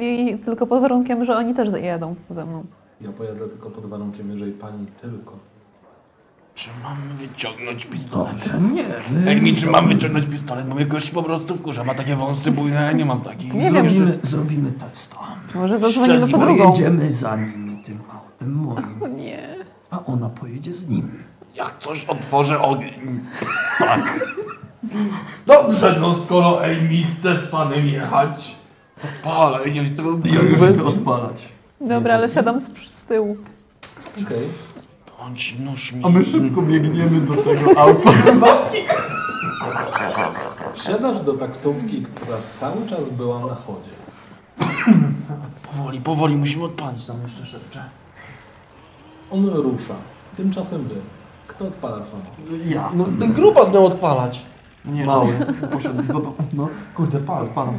I tylko pod warunkiem, że oni też jadą ze mną. Ja pojadę tylko pod warunkiem, jeżeli pani tylko. Czy mam wyciągnąć pistolet? Dobrze, znaczy, nie. Ej, mi, czy mam wyciągnąć pistolet? Bo mnie gość po prostu wkurza, ma takie wąsy bujne, ja nie mam takich. Nie wiem, Zrobimy, zrobimy testa. Może zadzwonimy po drugą. Pojedziemy za nimi tym autem moim, O nie. a ona pojedzie z nim. Jak coś otworzę ogień. Tak. (laughs) Dobrze, no skoro Amy chce z panem jechać. Palej, nie Ja trudno. już chcę odpalać. Dobra, ale siadam z, z tyłu. Okej. Bądź nóż mi. A my szybko biegniemy do (laughs) tego auta. Wsiadasz do taksówki, która cały czas była na chodzie. Powoli, powoli, musimy odpalić tam jeszcze szybciej. On rusza. Tymczasem wy. Kto odpala samochód? Ja. No, ten gruba z nią odpalać. Nie, Mały. Poszedł do domu. No, kurde, pal, palam.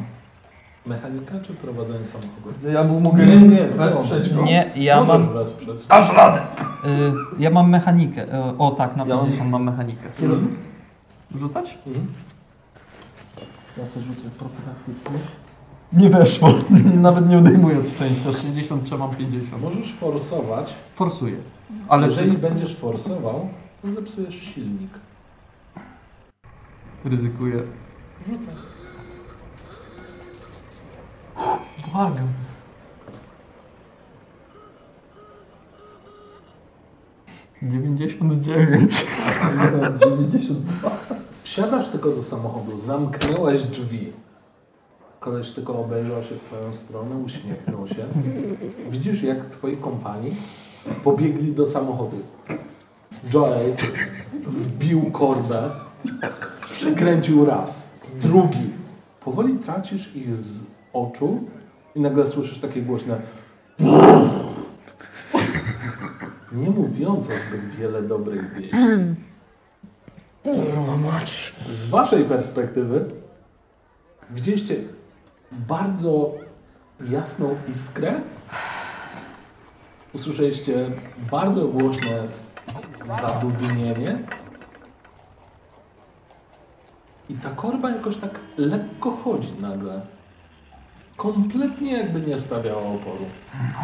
Mechanika czy prowadzenie samochodu? Ja mogę Nie, nie, wesprzeć wesprzeć go. Nie, ja Możesz mam, wesprzeć. Dasz radę. y, ja mam mechanikę. Y, O tak, na Ja mam- 50 mam mechanikę. Rzucać? Ja sobie rzucę profilaktycznie. Nie (laughs) weszło, nawet nie odejmując szczęścia. 63 mam 50. Możesz forsować, Forsuję. Ale jeżeli czy będziesz forsował, to zepsujesz silnik. ryzykuję? Rzucę. Błagam. Dziewięćdziesiąt dziewięć. Wsiadasz tylko do samochodu, zamknęłaś drzwi. Koleś tylko obejrzał się w twoją stronę, uśmiechnął się. Widzisz, jak twoi kompani pobiegli do samochodu. Joel wbił korbę, przekręcił raz, drugi. Powoli tracisz ich z oczu i nagle słyszysz takie głośne (laughs) nie mówiące zbyt wiele dobrych wieści. Z waszej perspektywy widzieliście bardzo jasną iskrę. Usłyszeliście bardzo głośne zadudnienie. I ta korba jakoś tak lekko chodzi nagle. Kompletnie jakby nie stawiała oporu.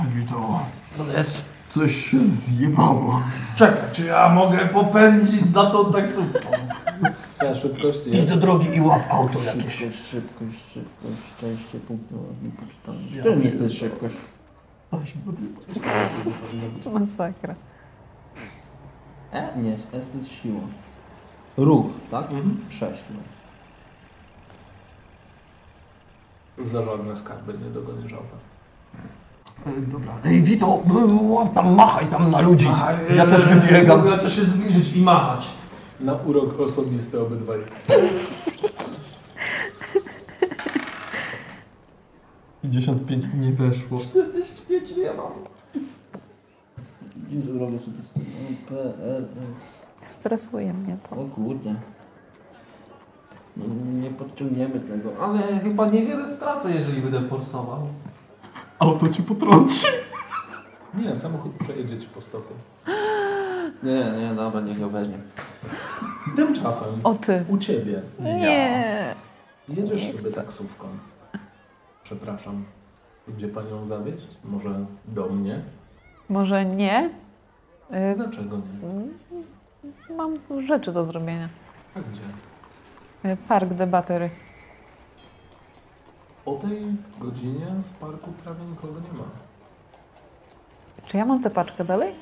Mówi to. To jest. Coś się zjebało. Czekaj, czy ja mogę popędzić za tą taksówką? Ta szybkość Idź jest. do drogi i łap auto jakieś. Szybkość, szybkość, szybkość, szczęście, punkt nie poczytanie. To nie jest szybkość. Masakra. E? Nie, S to jest siła. Ruch, tak? Sześć. No. Za żadne skarby nie dogonisz auta. Ej, Dobra. no, Ej, Wito, łap tam, machaj tam na ludzi. Ja też wybiegam. Ja też się zbliżyć i machać. Na urok osobisty obydwaj. nie weszło. Dzień zdrowia osobisty. No, P, R, Stresuje mnie to. R. O kurde. No, nie podciągniemy tego. Ale chyba niewiele stracę, jeżeli będę forsował. Auto cię potrąci. Nie, samochód przejedzie ci po stopie. Nie, nie, dobra, niech ją weźmie. Tymczasem O ty. u ciebie Nie. jedziesz Nie sobie chcę. taksówką. Przepraszam. Gdzie panią zawieźć? Może do mnie? Może nie? Y, Dlaczego nie? Mam tu rzeczy do zrobienia. A gdzie? Y, Park debatery. O tej godzinie w parku prawie nikogo nie ma. Czy ja mam tę paczkę dalej?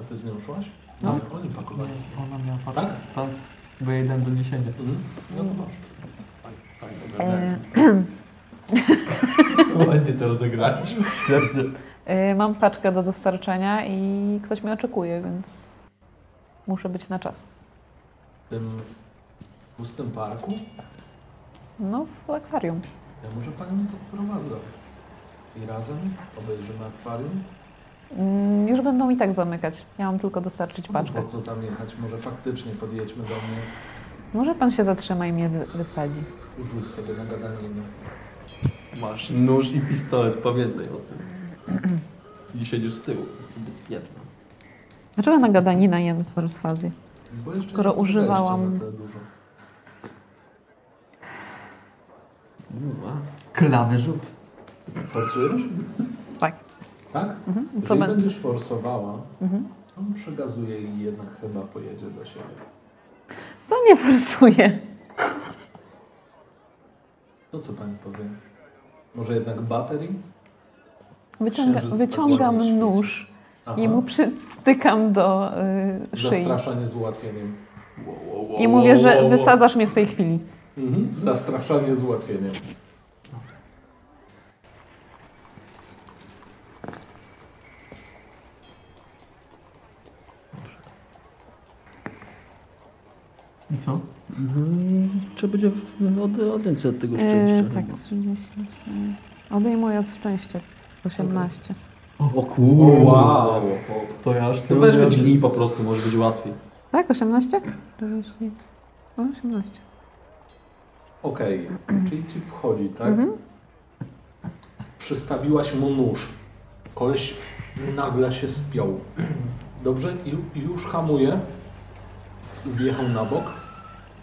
A ty z nią szłaś? No. Nie, oni pakowali. Ona miała parę. Tak? Tak, bo ja jej dałem doniesienie. Mhm. No to masz. E, Ładnie to rozegrałeś. Świetnie. y, mam paczkę do dostarczenia i ktoś mnie oczekuje, więc muszę być na czas. W tym pustym parku? No, w akwarium. Ja może panią doprowadzę. I razem obejrzymy akwarium? Mm, Już będą i tak zamykać. Ja mam tylko dostarczyć paczkę. Po co tam jechać? Może faktycznie podjedźmy do mnie, Może pan się zatrzyma i mnie wy- wysadzi. rzuć sobie na gadaninę. Masz nóż i pistolet, pamiętaj o tym. I siedzisz z tyłu. Dlaczego na gadanina i na perswazję? Bo jeszcze Skoro nie podeszliście używałam- na tyle dużo. Klawy żółt. Forsujesz? Tak. Tak? Mhm. Co Jeżeli będę? będziesz forsowała, Mhm. to on przegazuje i jednak chyba pojedzie do siebie. To nie forsuje. To co pani powie? Może jednak baterii? Wyciąga, Księżyc tak wyciągam ładnie nóż i mu przytykam do y, szyi. Zastraszanie z ułatwieniem. I mówię, że wysadzasz mnie w tej chwili. Mhm. Zastraszanie z ułatwieniem. I co? Trzeba będzie od, odjąć się od tego E, tak, 30. Odejmuję od szczęścia. 18. O O, kurde. wow. To ja aż To tyle weźmy razy. drzwi po prostu, może być łatwiej. Tak, 18? 40. No, 18. Okej, czyli ci wchodzi, tak? Przystawiłaś mu nóż. Koleś nagle się spiął. (clears throat) Dobrze, Ju- już hamuje. Zjechał na bok,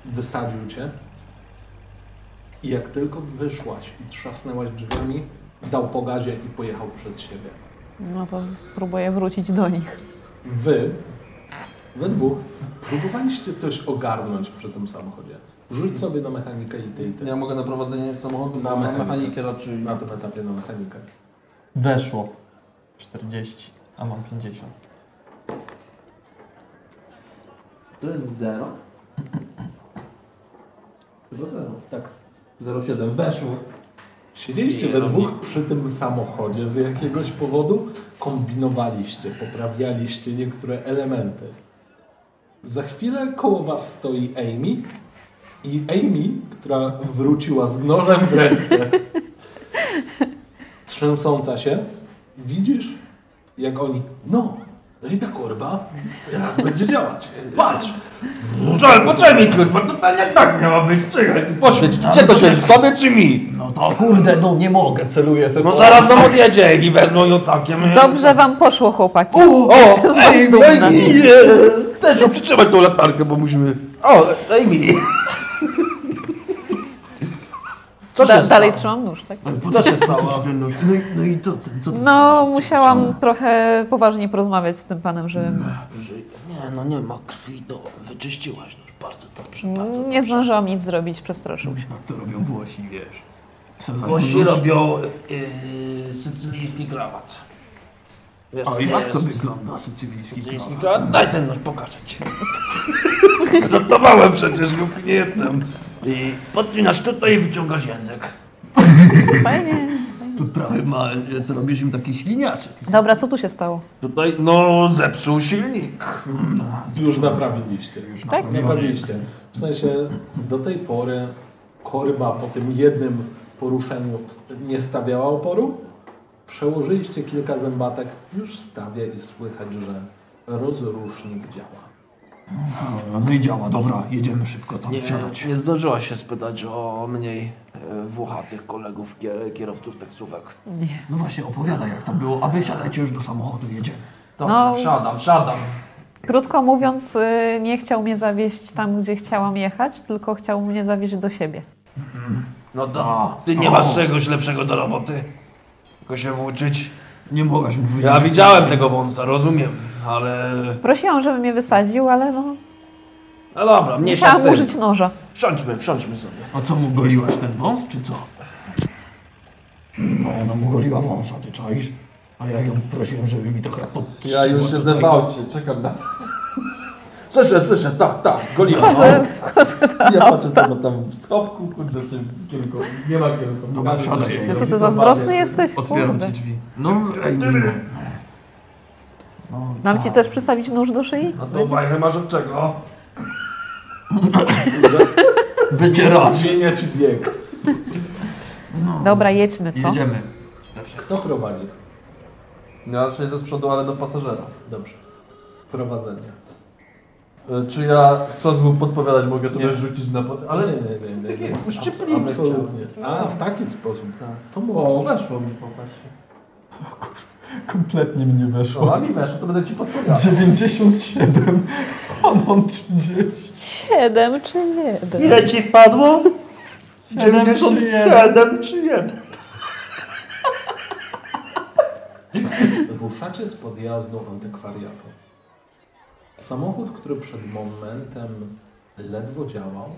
wysadził cię. I jak tylko wyszłaś i trzasnęłaś drzwiami, dał po gazie i pojechał przed siebie. No to próbuję wrócić do nich. Wy, we dwóch, próbowaliście coś ogarnąć przy tym samochodzie. Rzuć sobie na mechanikę i ty i ty. Ja mogę na prowadzenie samochodu, na Na Tak. mechanikę. mechanikę raczej. Na tym etapie na mechanikę. Weszło. 40, a mam 50. To jest 0. Chyba 0. Tak. 0,7 weszło. Siedzieliście no we dwóch przy tym samochodzie z jakiegoś powodu, kombinowaliście, poprawialiście niektóre elementy. Za chwilę koło was stoi Amy i Amy, która wróciła z nożem w (laughs) ręce, trzęsąca się, widzisz, jak oni, no, no i ta kurwa teraz będzie działać. Patrz! Żal, poczekaj, kurwa, to nie tak miało być, czekaj, poświeć, gdzie to się, sobie czy mi? No to kurde, no nie mogę, celuję sobie. No zaraz nam odjedzie i wezmą ją Tak. całkiem. e, Dobrze wam poszło, chłopaki. O, Jestem z was ej, no dumna. Amy, jest! Też no przytrzymaj tą latarkę, bo musimy... O, Amy! Co da, dalej trzymam nóż, tak? Co się stało? No, i- no i co ty? Co ty No, musiałam trochę poważnie porozmawiać z tym panem, że Że- Nie, no nie ma krwi, to wyczyściłaś już bardzo dobrze, bardzo nie zdążyłam nic zrobić, przestraszył się. Tak to robią Włosi, wiesz. Co za Głosi nóż? robią yy, sycylijski krawat. Wiesz, A co i to jak to jest? wygląda sycylijski Sycylijski krawat? krawat? Daj ten nóż, pokażę ci. (laughs) Żartowałem przecież, głupi nie jestem. I podcinasz Y, tutaj i wyciągasz język. Fajnie. Tu prawie ma, to robisz im taki śliniaczek. Dobra, co tu się stało? Tutaj, no, zepsuł silnik. Już naprawiliście. Tak? Naprawiliście. W sensie do tej pory korba po tym jednym poruszeniu nie stawiała oporu. Przełożyliście kilka zębatek, już stawia i słychać, że rozrusznik działa. No i działa, dobra, jedziemy szybko tam Nie, wsiadać. nie zdążyłaś się spytać o mniej e, włochatych kolegów kier- kierowców taksówek. No właśnie, opowiadaj jak tam było, a wy siadajcie już do samochodu, jedziemy. Dobrze, No. wsiadam, wsiadam. Krótko mówiąc, y, nie chciał mnie zawieźć tam, gdzie chciałam jechać, tylko chciał mnie zawieźć do siebie. No A, to ty nie o. masz czegoś lepszego do roboty. Tylko się włóczyć. Nie mogłaś mi powiedzieć. Ja że- widziałem tego wąsa, rozumiem, ale... Prosiłam, żeby mnie wysadził, ale no, No dobra, mniejsza z musiałam tym. użyć noża. Wsiądźmy, wsiądźmy sobie. A co mu goliłaś ten wąs, czy co? No, ona mu goliła wąsa, ty czaisz? A ja ją prosiłem, żeby mi trochę podtrzymała. Ja już się tutaj. zerwał cię, czekam na Słyszę, słyszę, tak, tak, goliłem. Wchodzę, (laughs) wchodzę do Ja patrzę auta. tam, tam w schowku, kurde, się kierunku, nie ma kierunku. Dobra, wsiadaj. No co ty, zazdrosny jesteś? Otwieram Kurde. ci drzwi. No, ej, nie, no. No, Mam tak. ci też przystawić nóż do szyi? No to wajchę masz od czego? Wycierać. Zmienia ci bieg. Dobra, jedźmy, co? Jedziemy. Znaczy, Kto prowadzi? No, Ja się ze przodu, ale do pasażera. Dobrze. Prowadzenie. E, Czy ja chcąc mu podpowiadać, mogę sobie rzucić na pod... Ale Ale nie, nie, nie. nie, nie. uszczypliwy Absolutnie. A, w taki sposób. To O, było. weszło mi, popatrz. Kompletnie mi nie weszło. O, a mi weszło, to będę ci podpowiadał. 97, a mam 30. Siedem czy jeden? Ile ci wpadło? 97 czy 1? Ruszacie z podjazdu antykwariatu. Samochód, który przed momentem ledwo działał,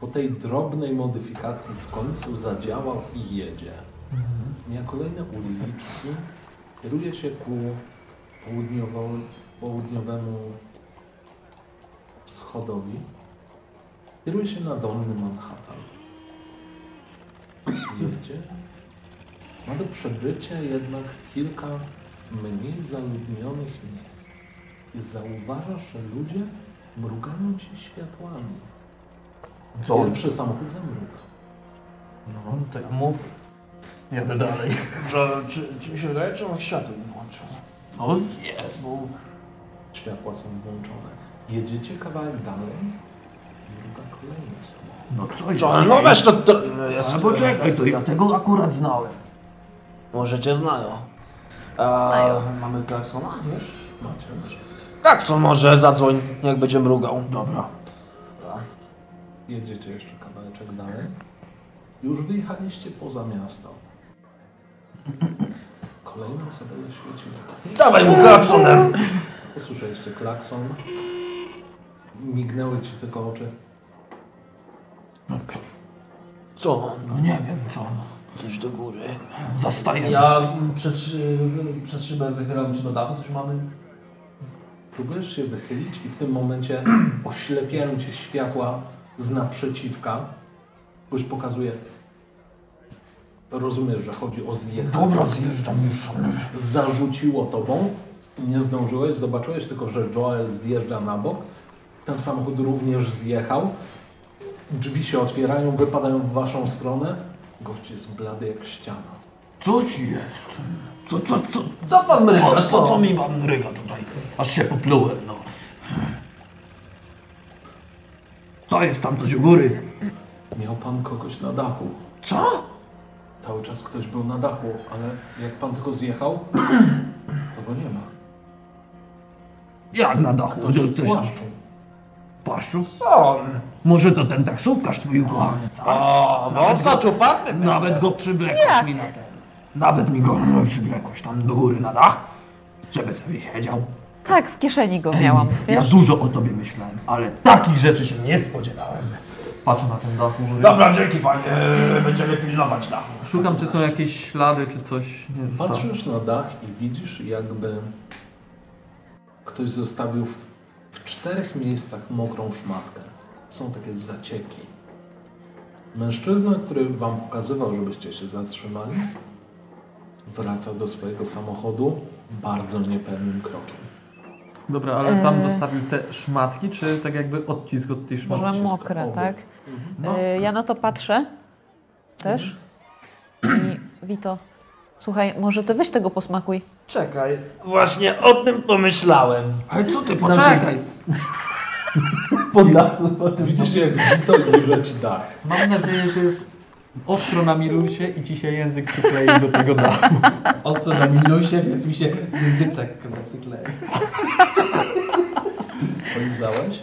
po tej drobnej modyfikacji w końcu zadziałał i jedzie. Na kolejne uliczki kieruje się ku południowo- południowemu wschodowi. Kieruje się na dolny Manhattan. Jedzie, ma do przebycia jednak kilka mniej zaludnionych miejsc. I zauważasz, że ludzie mrugają ci światłami. Co? Pierwszy samochód zamruga. No, to ja mu... Jadę dalej. Że, czy, czy mi się wydaje, czy on światło nie włączył? No, jest. Bo Światła są włączone. Jedziecie kawałek dalej, mruga kolejny samochód. No co jest? Co, no weź to... to no jest, Ale poczekaj, to ja tego akurat znałem. Może cię znają. A, Znają. Mamy klaksona? Macie już. Klakson Tak, może zadzwoń, jak będzie mrugał. Dobra. Jedziecie jeszcze kawałeczek dalej. Już wyjechaliście poza miasto. Kolejna osoba zaświeciła. Dawaj mu klaksonem! Usłyszeliście klakson. Mignęły ci tylko oczy. Co? No nie wiem co. Coś do góry. Zastajemy. Ja mm, przez, szy- przez szybę wychylam się do dachu, coś mamy. Próbujesz się wychylić i w tym momencie (clears throat) oślepiają cię światła z naprzeciwka. Ktoś pokazuje. Rozumiesz, że chodzi o zjechanie. Dobra, zjeżdżam już. Zarzuciło tobą. Nie zdążyłeś, zobaczyłeś tylko, że Joel zjeżdża na bok. Ten samochód również zjechał. Drzwi się otwierają, wypadają w waszą stronę. Gość jest blady jak ściana. Co ci jest? Co, co, co, Co pan No, mryga? co, co, co Co? mi mam ryga tutaj? Aż się poplułem, no. To jest tam coś u góry. Miał pan kogoś na dachu. Co? Cały czas ktoś był na dachu, ale jak pan tylko zjechał, to go nie ma. Jak na dachu? Ktoś Ktoś w tam- płaszczu. Płaszczu? Co? on? Może to ten taksówkarz twój ukochany, co? O, no, bo on zaczął party. Nawet go przywlekłeś mi na ten. Nawet mi go no, przywlekłeś tam do góry na dach, żeby sobie siedział. Tak, w kieszeni go miałam, Ja wiesz? dużo o tobie myślałem, ale takich rzeczy się nie spodziewałem. Patrzę na ten dach, może... Dobra, dzięki panie, będziemy pilnować dachu. Szukam, czy są jakieś ślady, czy coś. Nie zostało. Patrzysz na dach i widzisz, jakby ktoś zostawił w, w czterech miejscach mokrą szmatkę. Są takie zacieki. Mężczyzna, który wam pokazywał, żebyście się zatrzymali, wracał do swojego samochodu bardzo niepewnym krokiem. Dobra, ale tam E. zostawił te szmatki, czy tak jakby odcisk od tej szmatki? Może Odcisk mokra, obu. tak? No. Y, Ja na to patrzę też. I Wito, słuchaj, może ty weź tego posmakuj. Czekaj. Właśnie o tym pomyślałem. Ale co ty, poczekaj. Widzisz, jak Wito liże ci dach. Mam nadzieję, że jest ostro na milusie i ci się język przyklei do tego dachu. Ostro na minusie, więc mi się języcek chyba przykleja. Polizałeś?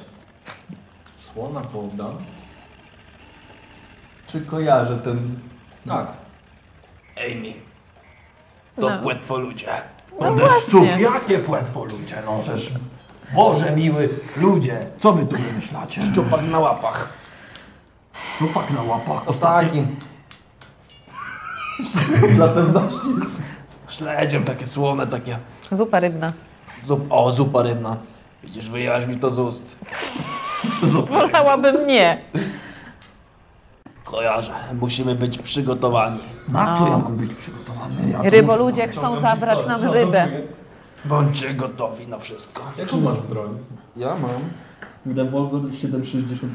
Słona woda. Czy kojarzę ten... Tak, Amy, to No. płetwo ludzie. No właśnie. jakie płetwo ludzie, no żeż. Boże miły, ludzie, co wy tu wymyślacie? Czupak na łapach. Szczupak na łapach, ostatni Takim. Dla pewności. Śledziem takie słone, takie... Zupa rybna. Zup, o, zupa rybna. Widzisz, wyjęłaś mi to z ust. Wolałabym nie. Kojarzę, musimy być przygotowani. Na co No. ja mam być przygotowany? Ja tu muszę- Ryboludzie chcą zabrać nam rybę. Bądźcie gotowi na wszystko. jaką masz broń? Ja mam. Rewolwer 7,65.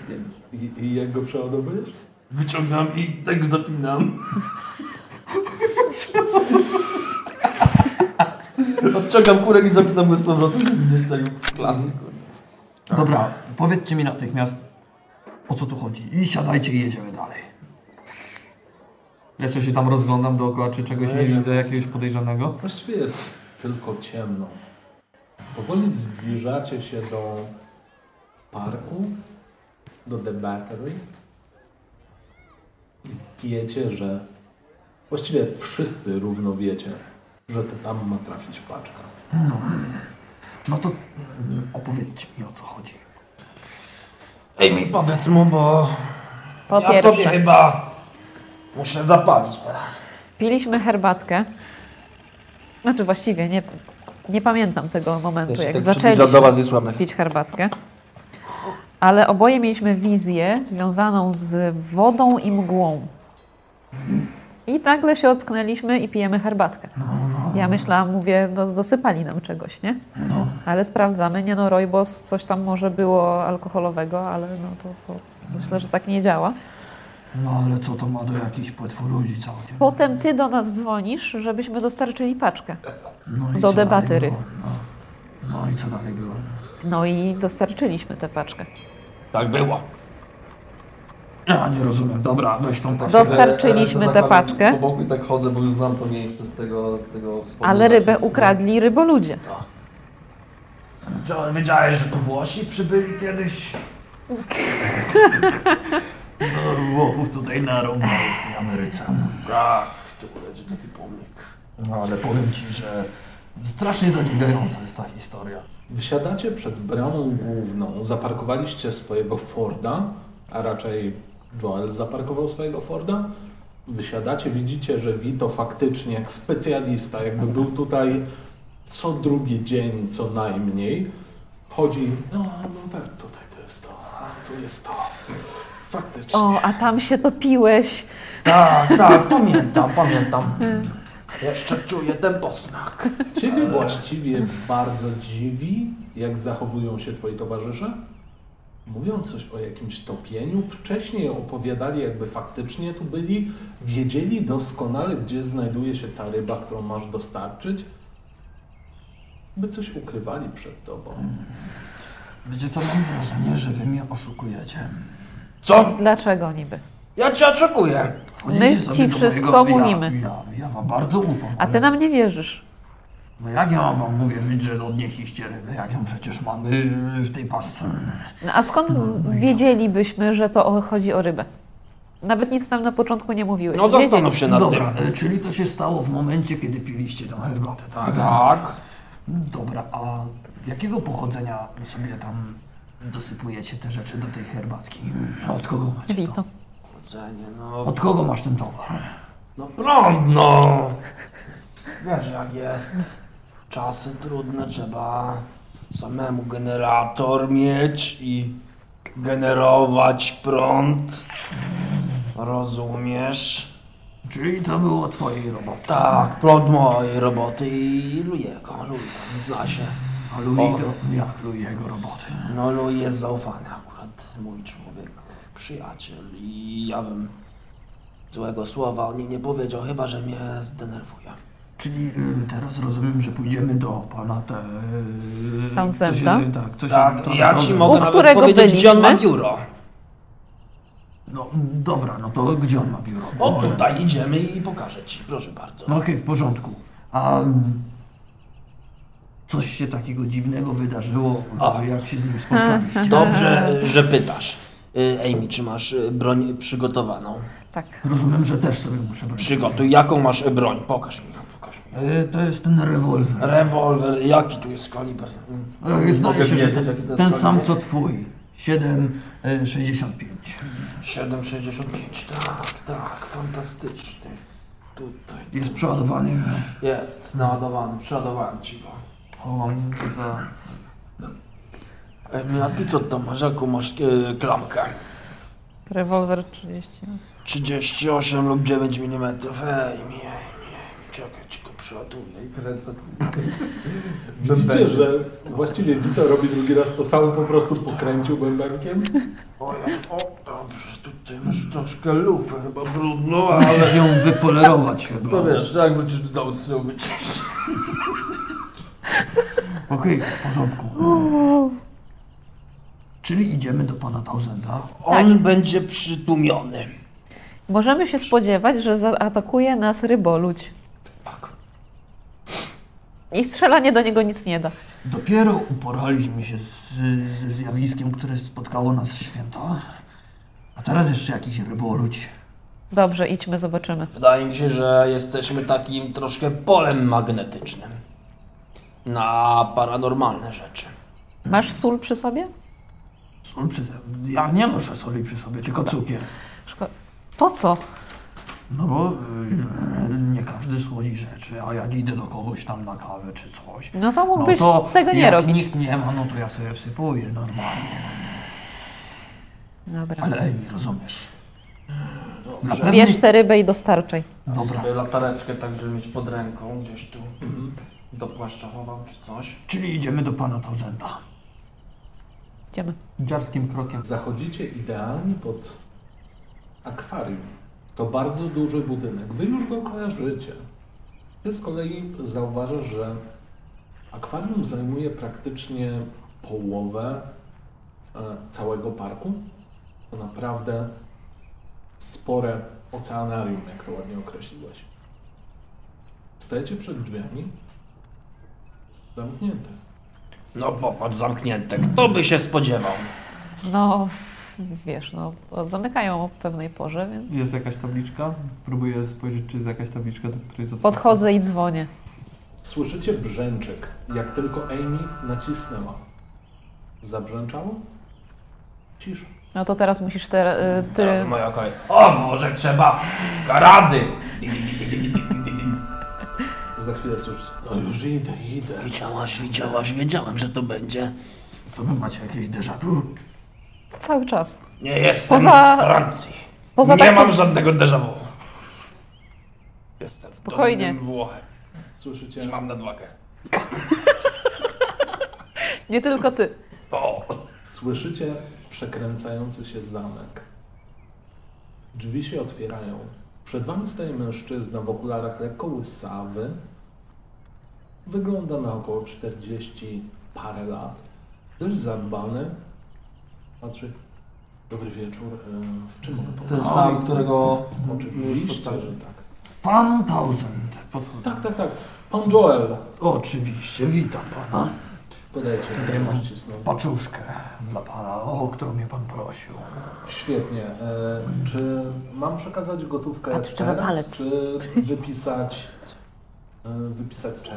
I, i jak go przeładowujesz? Wyciągam i tak zapinam. Odciągam kurek i zapinam go z powrotem, żeby nie strzelił w klatę. Tak. Dobra, powiedzcie mi natychmiast, o co tu chodzi. I siadajcie i jedziemy dalej. Jeszcze się tam rozglądam dookoła, czy czegoś nie widzę, jakiegoś podejrzanego. Właściwie jest tylko ciemno. Powoli zbliżacie się do parku, do The Battery. I wiecie, że właściwie wszyscy równo wiecie, że to tam ma trafić paczka. No to mm, opowiedzcie mi o co chodzi. Ej mi powiedz mu, bo Po ja sobie pierwsze, chyba muszę zapalić teraz. piliśmy herbatkę. Znaczy właściwie nie, nie pamiętam tego momentu, jak zaczęliśmy. was jest słabe. pić herbatkę. Ale oboje mieliśmy wizję związaną z wodą i mgłą. I nagle się ocknęliśmy i pijemy herbatkę. No, Ja myślałam, mówię, no, dosypali nam czegoś, nie? No, Ale sprawdzamy, nie no, rojbos, coś tam może było alkoholowego, ale no to, to myślę, że tak nie działa. No ale co to ma do jakichś płetwoludzi całkiem? Potem ty do nas dzwonisz, żebyśmy dostarczyli paczkę. No i do co dalej debaty było? No. no i co dalej było? No i dostarczyliśmy tę paczkę. Tak było. Ja nie rozumiem. Dobra, weź tą Tak. paczkę. Dostarczyliśmy tę paczkę. Po boku i tak chodzę, bo już znam to miejsce z tego, z tego Znaczy, wspomnienia. Ale rybę ukradli ryboludzie. Joel, wiedziałeś, że tu Włosi przybyli (laughs) kiedyś? No, Włochów tutaj narąbali w tej Ameryce. Tak, tu leży taki pomnik. No ale powiem ci, że strasznie zadziwiająca jest ta historia. Wysiadacie przed bramą główną, zaparkowaliście swojego Forda, a raczej Joel zaparkował swojego Forda. Wysiadacie, widzicie, że Vito faktycznie jak specjalista, jakby był tutaj co drugi dzień co najmniej, chodzi, no, no tak, tutaj to jest to, a tu jest to. Faktycznie. O, a tam się topiłeś. Tak, tak, pamiętam, (laughs) pamiętam. Jeszcze czuję ten posmak. Ciebie właściwie bardzo dziwi, jak zachowują się twoi towarzysze. Mówią coś o jakimś topieniu. Wcześniej opowiadali, jakby faktycznie tu byli. Wiedzieli doskonale, gdzie znajduje się ta ryba, którą masz dostarczyć. By coś ukrywali przed tobą. Wiecie co, mam wrażenie, że wy mnie oszukujecie. Co? Dlaczego niby? Ja cię oczekuję. Wchodzicie My sobie ci do wszystko mojego- mówimy. Ja, ja, ja wam bardzo ufam. A ty nam nie wierzysz. No jak ja wam mówię, że od niej iście ryby, jak ją przecież mamy w tej paczce. No, a skąd wiedzielibyśmy, że to o- chodzi o rybę? Nawet nic nam na początku nie mówiłeś. No zastanów się nad tym. Dobra, e, czyli to się stało w momencie, kiedy piliście tą herbatę, tak? Tak. Dobra, a jakiego pochodzenia sobie tam dosypujecie te rzeczy do tej herbatki? A Od kogo macie Wiedzieli. to? Wito. Chodzenie, no. Od kogo masz ten towar? No prądno. Wiesz jak jest. Czasy trudne, trzeba samemu generator mieć i generować prąd. Rozumiesz? Czyli to było twojej roboty. Tak, prąd mojej roboty i Lujego. Luj, zna się. A Luigo, jak Luiego roboty? No Luj jest zaufany akurat, mój człowiek, przyjaciel i ja bym złego słowa o nim nie powiedział, chyba że mnie zdenerwuje. Czyli y, teraz rozumiem, że pójdziemy do pana te... y, Townsenda? co się- Tak, co się- Tak, ja ci Townsenda. mogę U nawet którego powiedzieć, gdzie on ma byliśmy? biuro. No dobra, no to gdzie on ma biuro? O, tutaj idziemy i pokażę ci, proszę bardzo. No okej, w porządku. A mm, coś się takiego dziwnego wydarzyło, A. jak się z nim spotkaliście? (laughs) Dobrze, że pytasz. Y, Amy, czy masz y, broń przygotowaną? Tak. Rozumiem, że też sobie muszę brać. Przygotuj, jaką masz y, broń? Pokaż mi, pokaż mi. E, To jest ten rewolwer. Rewolwer, jaki tu jest kaliber? Mm, E, Zdaje się, że wiedzieć, jaki to ten, jest ten kaliber? sam co twój. e, 7,65. 7,65, tak, tak, fantastyczny. Tutaj. Jest przeładowany. Jest, naładowany, przeładowałem ci go. O, mam za... Ej, a ty co tam masz, jaką masz yy, klamkę? Rewolwer 30. 38 lub 9 mm, ej, mi, ej, mi, ej, mi. czekaj, ci go przeładuję i kręcę. Widzicie, że właściwie Wito robi drugi raz to samo, po prostu pokręcił bębenkiem. O, ja, o, dobrze, tutaj masz troszkę lufę, chyba brudno, ale... Musisz ją wypolerować chyba. (laughs) To wiesz, jak wrócisz do domu, to sobie ją wyczyścisz. Okej, w porządku. Czyli idziemy do pana Tausenda. On będzie przytłumiony. Możemy się spodziewać, że zaatakuje nas ryboludź. Tak. I strzelanie do niego nic nie da. Dopiero uporaliśmy się z, ze zjawiskiem, które spotkało nas w święta. A teraz jeszcze jakiś ryboludź. Dobrze, idźmy, zobaczymy. Wydaje mi się, że jesteśmy takim troszkę polem magnetycznym. Na paranormalne rzeczy. Masz sól przy sobie? Sól przy Ja nie noszę soli przy sobie, tylko cukier. Szko- Po co? No bo y, nie każdy słodzi rzeczy, a jak idę do kogoś tam na kawę czy coś, No to no mógłbyś to tego nie jak robić. nikt nie ma, no to ja sobie wsypuję normalnie. Dobra. Ale ej, nie rozumiesz. Dla Bierz pewnych... tę rybę i dostarczaj. Dobra, Sobie latareczkę tak, żeby mieć pod ręką gdzieś tu. Do płaszcza chowam czy coś. czyli idziemy do pana Tausenda. Idziemy. Dziarskim krokiem. Zachodzicie idealnie pod akwarium. To bardzo duży budynek. Wy już go kojarzycie. Ty z kolei zauważasz, że akwarium zajmuje praktycznie połowę e, całego parku. To naprawdę spore oceanarium, jak to ładnie określiłeś. Stajecie przed drzwiami zamknięte. No popatrz, zamknięte. Kto by się spodziewał? No, wiesz, no, zamykają o pewnej porze, więc Jest jakaś tabliczka. Próbuję spojrzeć, czy jest jakaś tabliczka, do której jest otwarta. podchodzę i dzwonię. Słyszycie brzęczyk, jak tylko Amy nacisnęła. Zabrzęczało? Cisza. No to teraz musisz te, y, ty... Moja kolej. O, może trzeba garazy! Za chwilę słyszycie. No już idę, idę. Widziałaś, widziałaś, wiedziałem, że to będzie. Co wy macie, jakieś déjà vu? Cały czas. Nie jestem Poza- z Francji. Poza nie tak mam żadnego déjà vu. Jestem z Spokojnie. Dolnym Włochem. I Słyszycie? mam nadwagę. Nie tylko ty. O! Słyszycie przekręcający się zamek. Drzwi się otwierają. Przed wami staje mężczyzna w okularach lekko łysawy. Wygląda na około 40 parę lat. Dość zadbany. Patrzy. Dobry wieczór. e, W czym mogę pomóc? Ten sam, którego... Oczywiście, że tak. Pan Thousand. Podchodzę. Tak, tak, tak. Pan Joel. Oczywiście, witam pana. Podajcie. no. Tutaj mam. Ścisną. Paczuszkę dla pana, o którą mnie pan prosił. Świetnie. E, czy mam przekazać gotówkę Patrz, trzeba teraz, palec. czy wypisać, e, wypisać czek?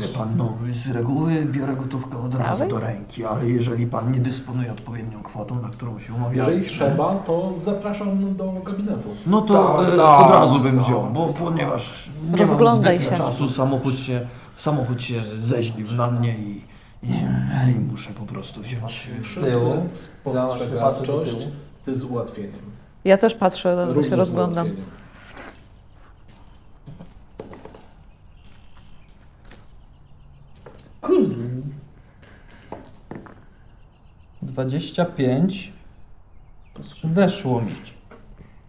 Wie pan, no, z reguły biorę gotówkę od razu Dawaj. do ręki, ale jeżeli pan nie dysponuje odpowiednią kwotą, na którą się umawialiśmy... Jeżeli trzeba, to zapraszam do gabinetu. No to Tak, e, tak, od razu bym tak. wziął, bo ponieważ nie Rozglądaj mam zwykle się. czasu, samochód się, samochód się zeźlił na mnie i, i, i muszę po prostu wziąć. Wszyscy tyłu. spostrzegawczość, Ja się patrzę do tyłu. ty z ułatwieniem. Ja też patrzę, Również się z rozglądam. ułatwieniem. Kurde. 25. Weszło mi.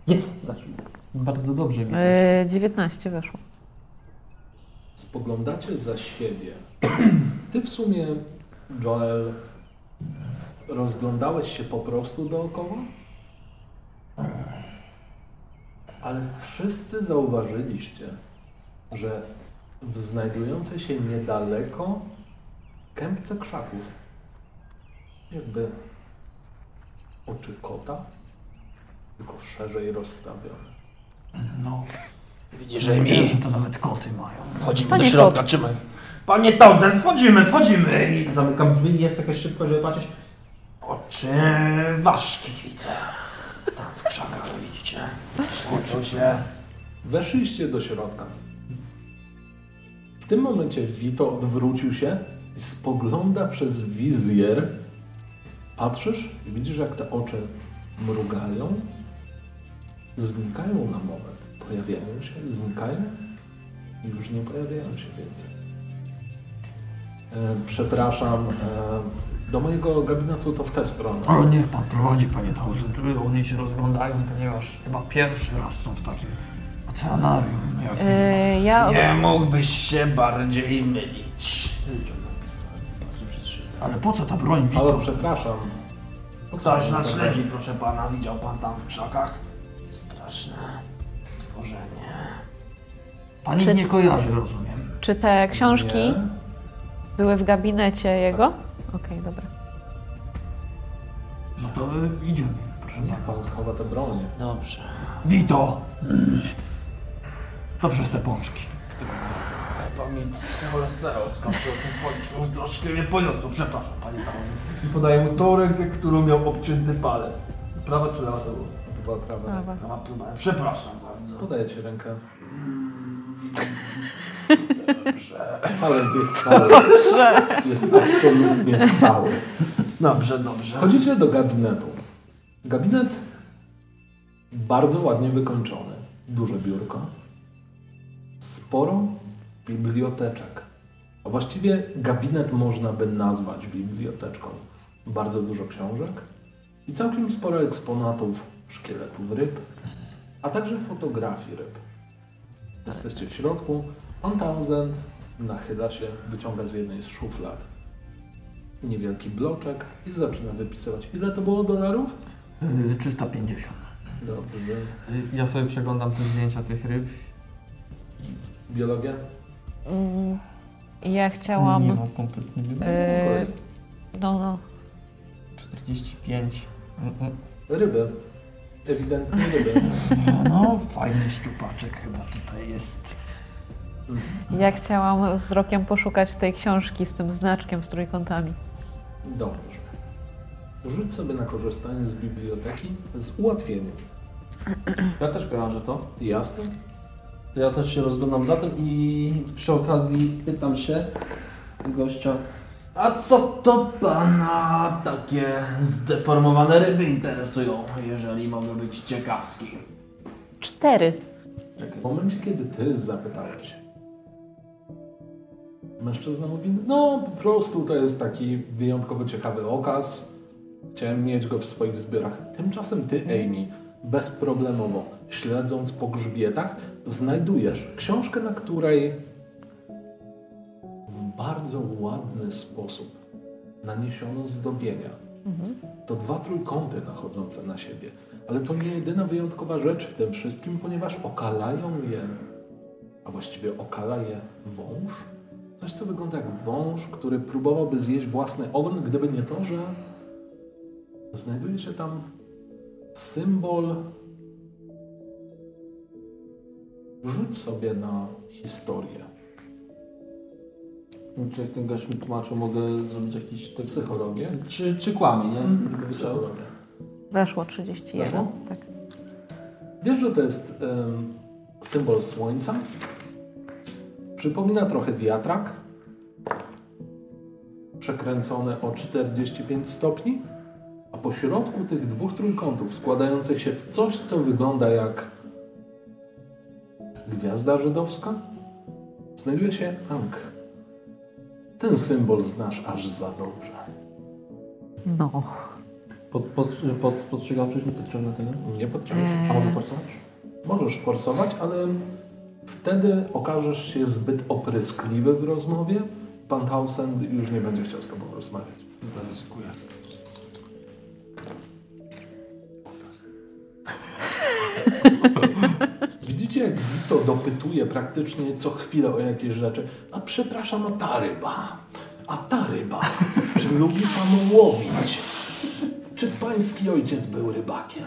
Jest! Zaszło. Bardzo dobrze mi. Yy, 19 weszło. Spoglądacie za siebie. Ty w sumie, Joel, rozglądałeś się po prostu dookoła? Ale wszyscy zauważyliście, że w znajdującej się niedaleko kępce krzaków, jakby oczy kota, tylko szerzej rozstawione. No, Widzisz, wiedziałem, że Emi? to nawet koty mają. Wchodzimy Panie do środka, kot. trzymaj. Panie Tauzen, wchodzimy, wchodzimy! I zamykam drzwi jeszcze jakoś szybko, żeby patrzeć. Oczy ważki widzę. Tak, Tam w krzakach, widzicie? Skurczą się. Weszliście do środka. W tym momencie Vito odwrócił się i spogląda przez wizjer. Patrzysz i widzisz, jak te oczy mrugają, znikają na moment. Pojawiają się, znikają i już nie pojawiają się więcej. E, przepraszam, e, do mojego gabinetu to w tę stronę. Ale niech pan prowadzi, panie Thousand. Oni się rozglądają, ponieważ chyba pierwszy raz są w takim oceanarium. Jak... Yy, ja Nie mógłbyś się bardziej mylić. Ale po co ta broń, Ale Vito? przepraszam. Po co Ktoś pan nas taka- śledzi, proszę pana. Widział pan tam w krzakach? Straszne stworzenie. Pan ich nie kojarzy, rozumiem. Czy te książki Nie. były w gabinecie jego? Tak. Okej, dobra. No to y, idziemy, proszę pana. Niech pan schowa te bronie. Dobrze. Wito! Dobrze, te pączki. Chyba mi cholesterol skończył tym policzką. Troszkę mnie poniosło, przepraszam, panie tam. I podaję mu tą rękę, którą miał obcięty palec. Prawa czy lewa to było? To była prawa. ręka. Dobra. Chyba próbowałem. Przepraszam bardzo. Podaję ci rękę. Palec jest cały. Jest absolutnie cały. Dobrze, dobrze. Wchodzicie do gabinetu. Gabinet bardzo ładnie wykończony. Duże biurko. Sporo biblioteczek. A właściwie gabinet można by nazwać biblioteczką. Bardzo dużo książek i całkiem sporo eksponatów szkieletów ryb, a także fotografii ryb. Jesteście w środku. Pan Townsend nachyla się, wyciąga z jednej z szuflad niewielki bloczek i zaczyna wypisywać. Ile to było dolarów? Y, 350. Dobrze. Ja sobie przeglądam te zdjęcia tych ryb. Biologia? Mm, Ja Nie chciałam. mam kompletnie Yy, no, no. 45. Mm, Ryby. Ewidentnie ryby. No, no, fajny szczupaczek chyba tutaj jest. Ja chciałam wzrokiem poszukać tej książki z tym znaczkiem z trójkątami. Dobrze. Rzuć sobie na korzystanie z biblioteki z ułatwieniem. Ja też kojarzę to. Jasne? Ja też się rozglądam za tym i przy okazji pytam się gościa. A co to pana takie zdeformowane ryby interesują, jeżeli mogę być ciekawski? Cztery. Czekaj, W momencie, kiedy ty zapytałeś, mężczyzna mówi, no po prostu to jest taki wyjątkowo ciekawy okaz, chciałem mieć go w swoich zbiorach. Tymczasem ty, Amy, bezproblemowo, śledząc po grzbietach, znajdujesz książkę, na której w bardzo ładny sposób naniesiono zdobienia. To dwa trójkąty nachodzące na siebie. Ale to nie jedyna wyjątkowa rzecz w tym wszystkim, ponieważ okalają je, a właściwie okala je wąż. Coś, co wygląda jak wąż, który próbowałby zjeść własny ogon, gdyby nie to, że znajduje się tam symbol. Rzuć sobie na historię. Czy jak ten gość mi tłumaczył, mogę zrobić jakiś tekst? Psychologię. Czy, czy kłamie, nie? Psychologię. Weszło 31. Weszło? Tak. Wiesz, że to jest em, symbol słońca? Przypomina trochę wiatrak. Przekręcone o 45 stopni. A po środku tych dwóch trójkątów składających się w coś, co wygląda jak gwiazda żydowska, znajduje się Ankh. Ten symbol znasz aż za dobrze. No. Pod, pod, pod, spostrzegawczość nie podciągnę tego? Nie podciągnę. A mogę forsować? Możesz forsować, ale wtedy okażesz się zbyt opryskliwy w rozmowie. Pan Townsend już nie będzie chciał z tobą rozmawiać. Zaryzykuję. (laughs) Widzicie, jak Vito dopytuje praktycznie co chwilę o jakieś rzeczy. A przepraszam, a ta ryba? A ta ryba? Czy lubi pan łowić? Czy pański ojciec był rybakiem?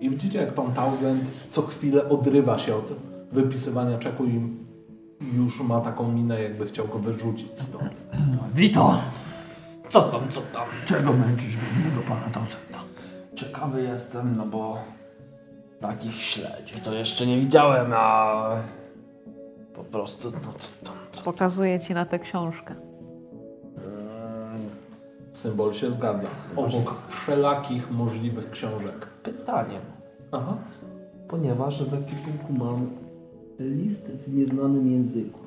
I widzicie, jak pan Townsend co chwilę odrywa się od wypisywania czeku i już ma taką minę, jakby chciał go wyrzucić stąd. Wito! Co tam, co tam? Czego męczysz biednego pana Townsenda? Ciekawy jestem, no bo takich śledzi to jeszcze nie widziałem, a po prostu, no co tam, co... Pokazuję ci na tę książkę. Mm, Symbol się zgadza. Obok wszelakich możliwych książek. Pytanie, Aha. ponieważ w ekwipunku mam list w nieznanym języku.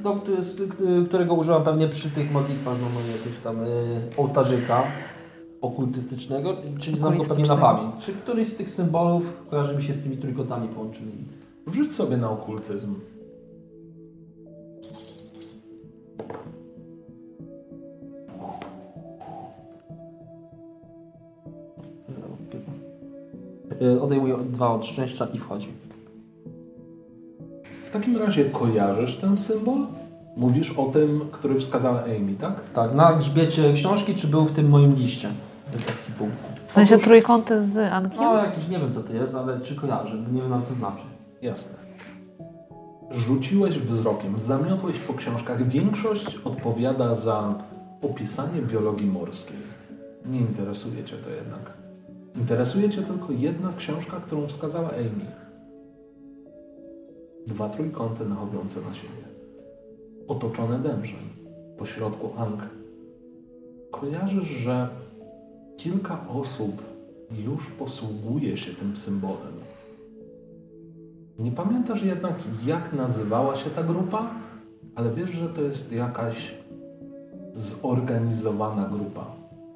Do, który- z- y, którego używam pewnie przy tych modlitwach, no mam jakiegoś tam y, ołtarzyka okultystycznego, czyli znam go pewnie na pamięć. Czy któryś z tych symbolów kojarzy mi się z tymi trójkątami połączonymi? Rzuć sobie na okultyzm. Y, Odejmuję dwa od szczęścia i wchodzi. W takim razie kojarzysz ten symbol? Mówisz o tym, który wskazała Amy, tak? Tak, na grzbiecie książki, czy był w tym moim liście? Tak, W ekwipunku. W No sensie trójkąty z Ankiem? No jakiś, nie wiem co to jest, ale czy kojarzę, nie wiem nam co znaczy. Jasne. Rzuciłeś wzrokiem, zamiotłeś po książkach. Większość odpowiada za opisanie biologii morskiej. Nie interesuje cię to jednak. Interesuje cię tylko jedna książka, którą wskazała Amy. Dwa trójkąty nachodzące na siebie. Otoczone wężem. Pośrodku Ang. Kojarzysz, że kilka osób już posługuje się tym symbolem. Nie pamiętasz jednak, jak nazywała się ta grupa, ale wiesz, że to jest jakaś zorganizowana grupa.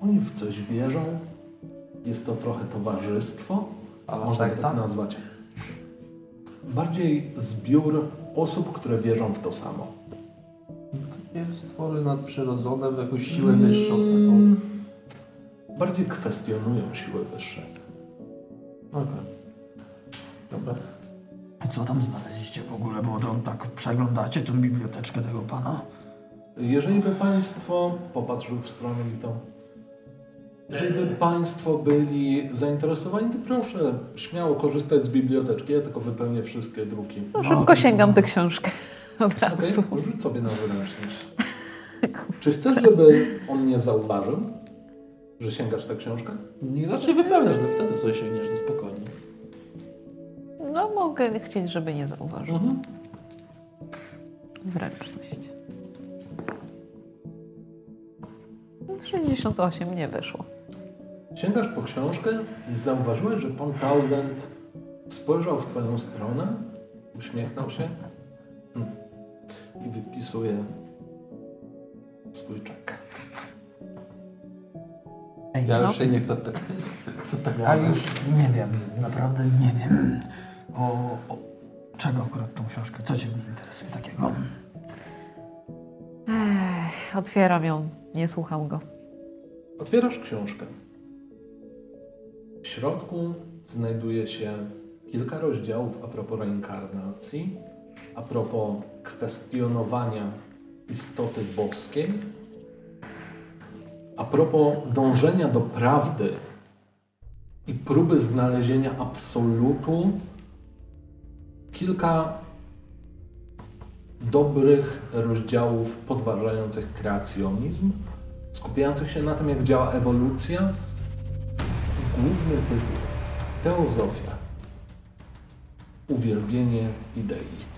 Oni w coś wierzą, jest to trochę towarzystwo, Ale można sekta? tak nazwać. Bardziej zbiór osób, które wierzą w to samo. Stwory nadprzyrodzone, w jakąś siłę wyższą. Taką. Mm, Bardziej kwestionują siły wyższe. Co tam znaleźliście w ogóle, bo to tak przeglądacie tą biblioteczkę tego pana? Jeżeli by Państwo, popatrzył w stronę i to, jeżeli by Państwo byli zainteresowani, to proszę śmiało korzystać z biblioteczki, ja tylko wypełnię wszystkie druki. No, szybko sięgam tę książkę. (laughs) Od Okej, razu. rzuć sobie na zręczność. Czy chcesz, żeby on nie zauważył, że sięgasz tę książkę? Niech zacznie wypełniać, no wtedy sobie sięgniesz, no spokojnie. No mogę chcieć, żeby nie zauważył. Zręczność. 68 nie wyszło. Sięgasz po książkę i zauważyłeś, że pan Tausend spojrzał w twoją stronę, Uśmiechnął się Mm. i wypisuje swój czek. Ej, Ja No. już się nie chcę pytać. Chcę tak Ja już nie wiem, naprawdę nie wiem. O, o czego akurat tą książkę? Co cię w niej interesuje takiego? Ech, Otwieram ją, nie słucham go. Otwierasz książkę. W środku znajduje się kilka rozdziałów a propos reinkarnacji, a propos kwestionowania istoty boskiej, a propos dążenia do prawdy i próby znalezienia absolutu. Kilka dobrych rozdziałów podważających kreacjonizm, skupiających się na tym, jak działa ewolucja. Główny tytuł Teozofia. Uwielbienie idei.